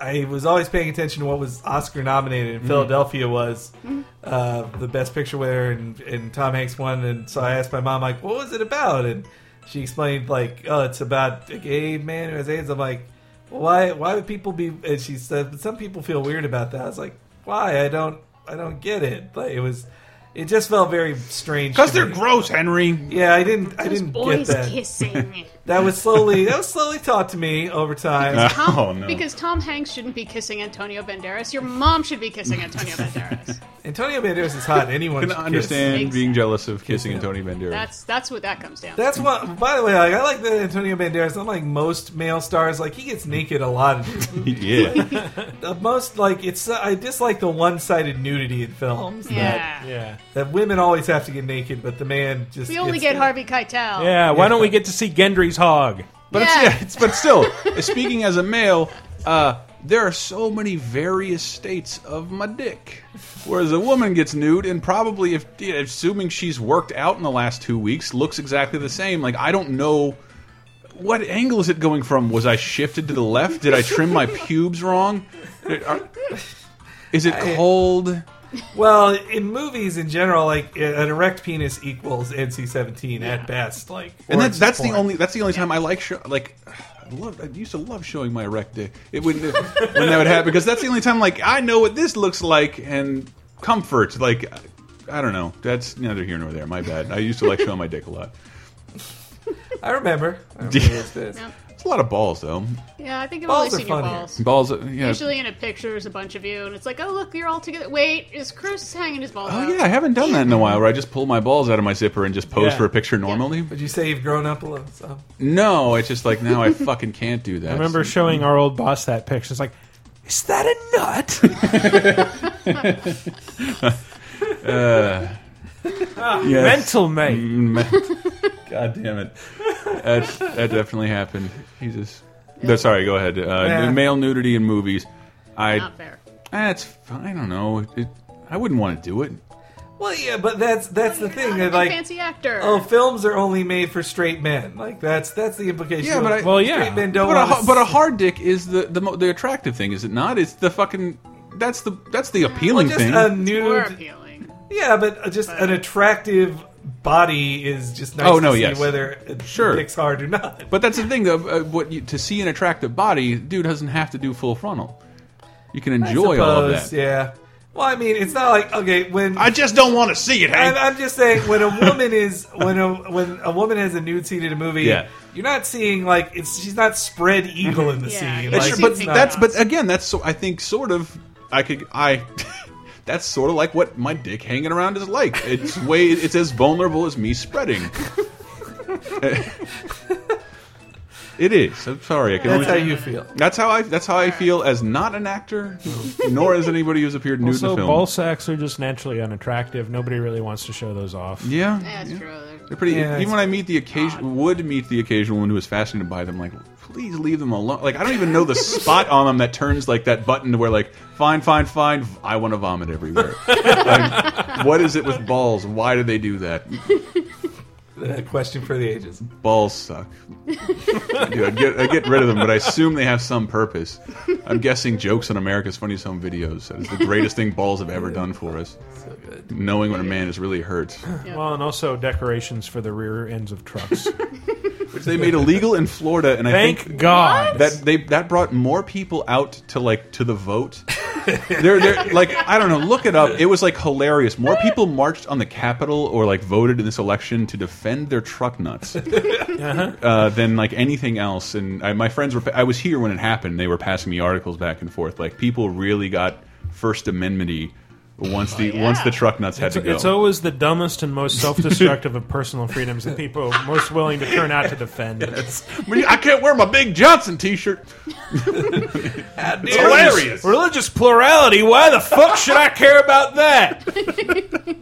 I was always paying attention to what was Oscar nominated,
Mm-hmm.
and Philadelphia was
Mm-hmm.
uh, the best picture winner, and, and Tom Hanks won. And so I asked my mom, like, what was it about? And she explained, like, oh, it's about a gay man who has AIDS. I'm like, why? Why would people be? And she said, but some people feel weird about that. I was like, why? I don't. I don't get it. Like, it was. It just felt very strange
because
to
they're
me.
gross, Henry.
Yeah, I didn't. I
Those
didn't get
boys
that.
kissing.
That was slowly. that was slowly taught to me over time.
Tom,
Oh, no.
Because Tom Hanks shouldn't be kissing Antonio Banderas. Your mom should be kissing Antonio Banderas.
Antonio Banderas is hot.
I
Anyone
can
should kiss.
understand
Kiss.
being jealous of kissing Antonio Banderas.
That's that's what that comes down. to.
That's what. By the way, like, I like that Antonio Banderas. I'm like most male stars. Like he gets naked a lot.
yeah,
The most like it's. uh, I dislike the one-sided nudity in films.
yeah.
yeah.
That, that women always have to get naked, but the man just.
We only
gets-
get Harvey Keitel.
Yeah, why don't we get to see Gendry's hog?
But
Yeah.
it's yeah, it's but still, speaking as a male, uh, there are so many various states of my dick. Whereas a woman gets nude and probably if yeah, assuming she's worked out in the last two weeks, looks exactly the same. Like I don't know what angle is it going from? Was I shifted to the left? Did I trim my pubes wrong? Are- Is it cold?
Well, in movies in general, like uh, an erect penis equals NC-17 at best. Like,
and
or
that's
it's
that's the
porn.
only that's the only time I like show, like I love I used to love showing my erect dick. It would when that would happen because that's the only time like I know what this looks like and comfort like I don't know that's neither here nor there. My bad. I used to like showing my dick a lot.
I remember. I remember those days.
Yep.
It's a lot of balls though.
Yeah, I think I've
Balls
only seen
are
your
funnier.
balls.
Balls. uh, Yeah.
Usually in a picture, there's a bunch of you, and it's like, oh, look, you're all together. Wait, is Chris hanging his balls
Oh
out?
yeah, I haven't done that in a while. Where I just pull my balls out of my zipper and just pose
Yeah.
for a picture normally.
But you say you've grown up a little. So.
No, it's just like now I fucking can't do that.
I remember showing our old boss that picture. It's like, is that a nut?
Yes.
Mental mate.
God damn it. That, that definitely happened. Jesus. No, sorry, go ahead. Uh,
Yeah.
Male nudity in movies. I.
Not fair.
That's. fi- I don't know. It, I wouldn't want to do it.
Well, yeah, but that's that's the thing. That,
Big
like,
fancy actor.
oh, films are only made for straight men. Like that's that's the implication.
Yeah, but
of-
I-
Well, yeah.
straight men don't.
But a,
wanna
ha- but a hard dick is the the, mo the attractive thing, is it not? It's the fucking. That's the that's the
Well,
appealing
just um,
thing.
a
More
nude.
appealing.
Yeah, but just an attractive body is just nice.
Oh, no,
to see
yes.
whether it
Sure.
dick's hard or not.
but that's the thing, though. Uh, what you, to see an attractive body, dude doesn't have to do full frontal. You can
I
enjoy all of
suppose,
that.
Yeah. Well, I mean, it's not like okay when
I just don't want to see it,
I'm,
Hank.
I'm just saying when a woman is when a when a woman has a nude scene in a movie,
Yeah.
you're not seeing like it's she's not spread eagle in the
Yeah,
scene.
you
Like,
don't
it's
see
but
pink
not-
that's
dots.
but again that's so, I think sort of I could I that's sort of like what my dick hanging around is like. It's way it's as vulnerable as me spreading. it is. I'm sorry. I can
that's
that's,
how
only,
you feel.
that's how I that's how I feel as not an actor, nor as anybody who's appeared nude in
Also,
a film.
ball sacks are just naturally unattractive. Nobody really wants to show those off.
Yeah.
Yeah, that's true.
They're pretty.
Yeah,
even
it's-
when I meet the occasion, would meet the occasional one who is fascinated by them, like please leave them alone. Like I don't even know the spot on them that turns like that button to where like fine, fine, fine. v- I want to vomit everywhere. Like, what is it with balls? Why do they do that?
A question for the ages.
Balls suck. I do. I get I get rid of them, but I assume they have some purpose. I'm guessing jokes on America's Funniest Home Videos. That is the greatest thing balls have ever done for us.
So good.
Knowing when a man is really hurt,
Well, and also decorations for the rear ends of trucks.
which they made illegal in Florida, and I think
Thank God.
that they that brought more people out to like to the vote. they're, they're like I don't know. Look it up. It was like hilarious. More people marched on the Capitol or like voted in this election to defend their truck nuts
Uh-huh.
uh, than like anything else. And I, my friends were. I was here when it happened. They were passing me articles back and forth. Like people really got First Amendment-y once the once the truck nuts had to go.
Oh, It's always the dumbest and most self-destructive of personal freedoms that people are most willing to turn out to defend.
I mean, I can't wear my Big Johnson T-shirt.
It's
Hilarious.
Religious plurality. Why the fuck should I care about that?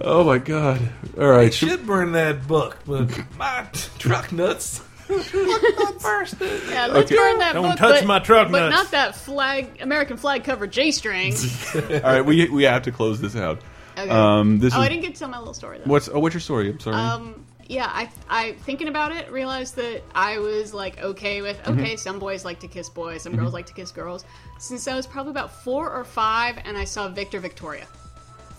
Oh my god! All right, should-
Should burn that book, but my t- truck nuts. First,
Yeah, let's burn that
Don't
book,
touch
but,
my truck
but
nuts.
not that flag, American flag covered J string.
all right. We we have to close this out.
Okay.
Um, this
oh,
is
I didn't get to tell my little story though.
what's oh, what's your story? I'm sorry.
Um, yeah, I, I thinking about it realized that I was like okay with
Mm-hmm.
okay. Some boys like to kiss boys, some girls like to kiss girls. Since I was probably about four or five, and I saw Victor Victoria.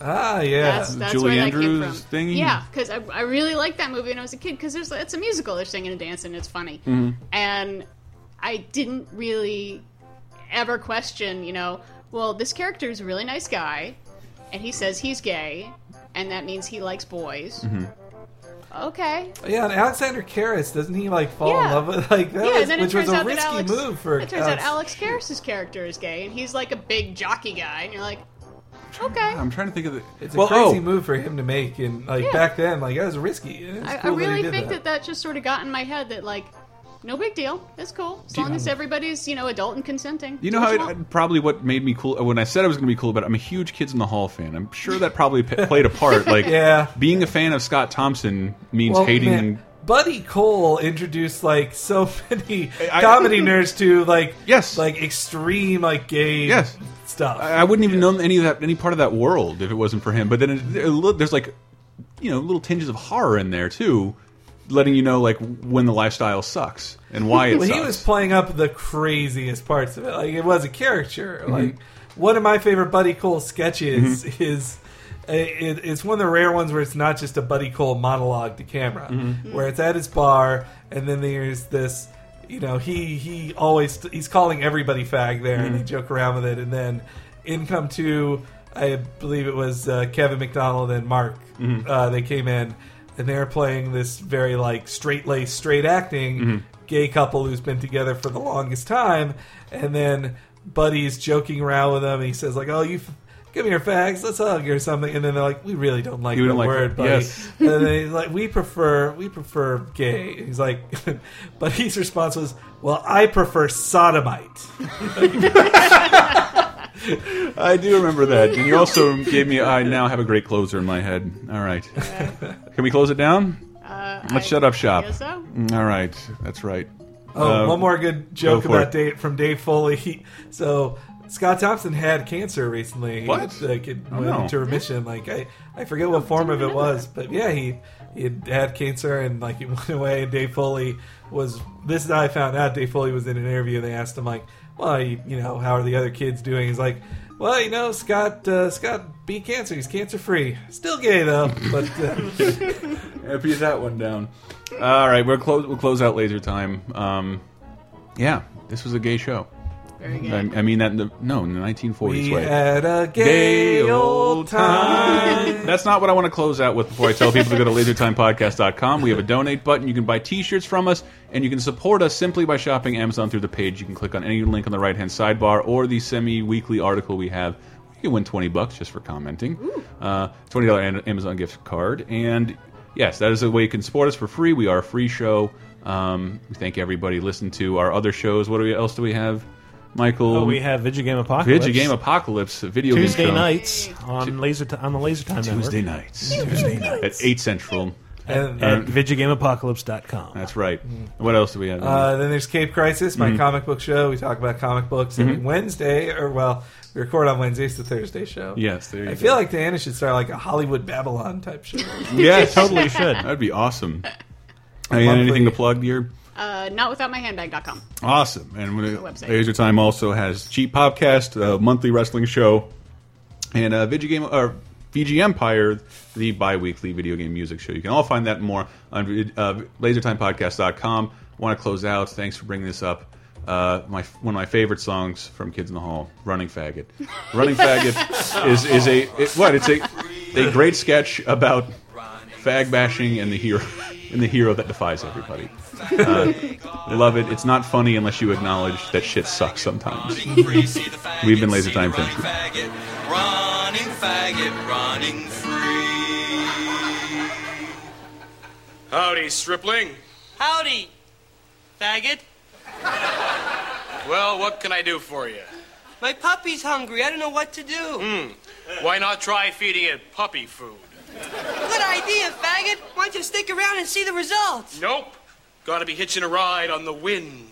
ah, yeah.
That's, that's
Julie
where that came
Andrews
from.
thingy?
Yeah, because I, I really liked that movie when I was a kid because there's it's a musical, they're singing and dancing, it's funny,
Mm-hmm.
and I didn't really ever question, you know, well, this character is a really nice guy, and he says he's gay, and that means he likes boys.
Mm-hmm.
Okay,
yeah, and Alexander Karras doesn't he like fall in
Yeah.
love with like that?
yeah,
was,
and then it
which was
turns
a
out that
risky
Alex,
move for.
it turns out Alex Karras's character is gay, and he's like a big jockey guy, and you're like, okay,
I'm trying to think of the.
It's
well,
a crazy
oh,
move for him to make, and like
Yeah.
back then, like that was risky. It was
I,
cool
I
that he
really
did
think that.
that.
that just sort of got in my head that like, no big deal, it's cool as long as everybody's you know adult and consenting.
You
Do
know how it,
what want.
probably what made me cool when I said I was going to be cool about it. I'm a huge Kids in the Hall fan. I'm sure that probably p- played a part. Like,
Yeah.
being a fan of Scott Thompson means
Well,
hating.
man, Buddy Cole introduced like so many
I-
comedy nerds to like
Yes.
like extreme like gay
Yes.
stuff.
I I wouldn't even know any of that, any part of that world if it wasn't for him. But then it, it, look, there's like, you know, little tinges of horror in there too, letting you know like when the lifestyle sucks and why it
well,
sucks.
he was playing up the craziest parts of it. Like it was a caricature. Like one of my favorite Buddy Cole sketches is. uh, It, it's one of the rare ones where it's not just a Buddy Cole monologue to camera, where it's at his bar, and then there's this, you know, he he always he's calling everybody fag there, and they joke around with it, and then in come two, I believe it was uh, Kevin McDonald and Mark, uh, they came in, and they're playing this very like straight laced, straight acting
Mm-hmm.
gay couple who's been together for the longest time, and then Buddy's joking around with them, and he says like, "Oh, you." F- Give me your fags, let's hug or something, and then they're like, "We really don't like
You
the
don't like
word,
that.
buddy."
Yes.
And then he's like, "We prefer, we prefer gay." And he's like, but his response was, "Well, I prefer sodomite."
I do remember that. And you also gave me. I now have a great closer in my head. All right, can we close it down?
Uh,
Let's
I
shut up Mm. shop.
guess so.
All right, that's right.
Oh,
Uh,
one more good joke
go for
about
it.
Dave from Dave Foley. He- so Scott Thompson had cancer recently.
What? Oh,
He, like it went
no.
into remission. Like I, I forget what form of it was, but yeah, he he had, had cancer and like it went away. And Dave Foley was this is how I found out. Dave Foley was in an interview. They asked him like, well, you, you know, how are the other kids doing? He's like, well, you know, Scott uh, Scott beat cancer. He's cancer free. Still gay though, but. Uh,
Yeah, Beat that one down. All right, we'll close. We'll close out laser time. Um, yeah, this was a gay show.
Very good.
I, I mean that. In the, no, in the 1940s
We
way.
had a gay old time.
That's not what I want to close out with before I tell people to go to lasertimepodcast.com. We have a donate button. You can buy t shirts from us, and you can support us simply by shopping Amazon through the page. You can click on any link on the right hand sidebar or the semi weekly article we have. You can win 20 bucks just for commenting, uh, $20 an- Amazon gift card. And yes, that is a way you can support us for free. We are a free show. Um, we thank everybody. Listen to our other shows. What do we, else do we have, Michael?
Oh, we have Video Game Apocalypse.
Video Game Apocalypse, a video game
Tuesday
show.
nights on laser t- on the Laser Time
Tuesday
Network
nights. Tuesday nights. At 8 Central.
And- uh,
at VideoGameApocalypse.com.
That's right. What else do we have?
Uh, then there's Cape Crisis,
Mm-hmm.
my comic book show. We talk about comic books every Wednesday, or well, we record on Wednesdays, the Thursday show.
yes, there you
I
go.
feel like Diana should start like a Hollywood Babylon type show.
yes,
Totally should.
That'd be awesome. Hey, Ian, anything to plug here?
Uh, notwithoutmyhandbag.com.
Awesome. And when
Website.
Laser Time also has Cheap Podcast, a monthly wrestling show, and uh, video game or VG Empire, the bi-weekly video game music show. You can all find that and more on vid- uh, lasertimepodcast.com. Want to close out? Thanks for bringing this up. Uh, my one of my favorite songs from Kids in the Hall, "Running Faggot." "Running Faggot" is is a it- what? It's a a great sketch about fag bashing and the hero and the hero that defies everybody. Love it. It's not funny unless you acknowledge that shit sucks sometimes. We've been Laser Time. Thank you.
Running faggot, running free. Howdy, stripling.
Howdy, faggot.
Well, what can I do for you? Hmm.
My puppy's hungry. I don't know what to do.
Why not try feeding it puppy food?
Good idea, faggot. Why don't you stick around and see the results?
Nope. Gotta be hitching a ride on the wind.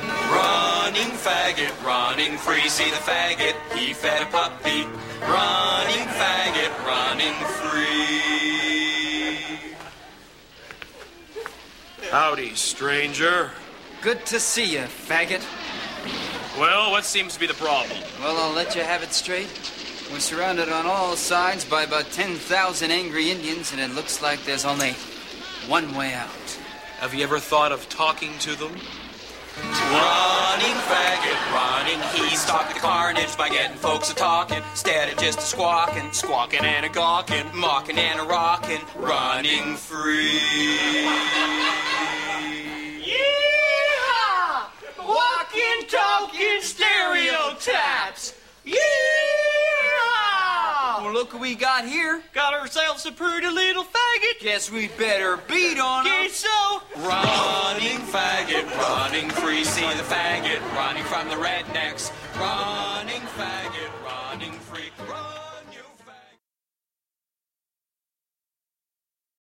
Running faggot, running free, see the faggot, he fed a puppy. Running faggot, running free. Howdy, stranger.
Good to see you, faggot.
Well, what seems to be the problem?
Well, I'll let you have it straight. We're surrounded on all sides by about 10,000 angry Indians, and it looks like there's only one way out.
Have you ever thought of talking to them? Running faggot, running, he stopped the carnage by getting folks a talking. Instead of just a squawking, squawking and a gawking, mocking and a rocking, running free.
Yeehaw! Walking, talking stereotypes. Yeehaw! Well, look what we got here. Got ourselves a pretty little faggot. Guess we better beat on him. Guess so.
Running faggot, running free, see the faggot, running from the rednecks. Running faggot, running free.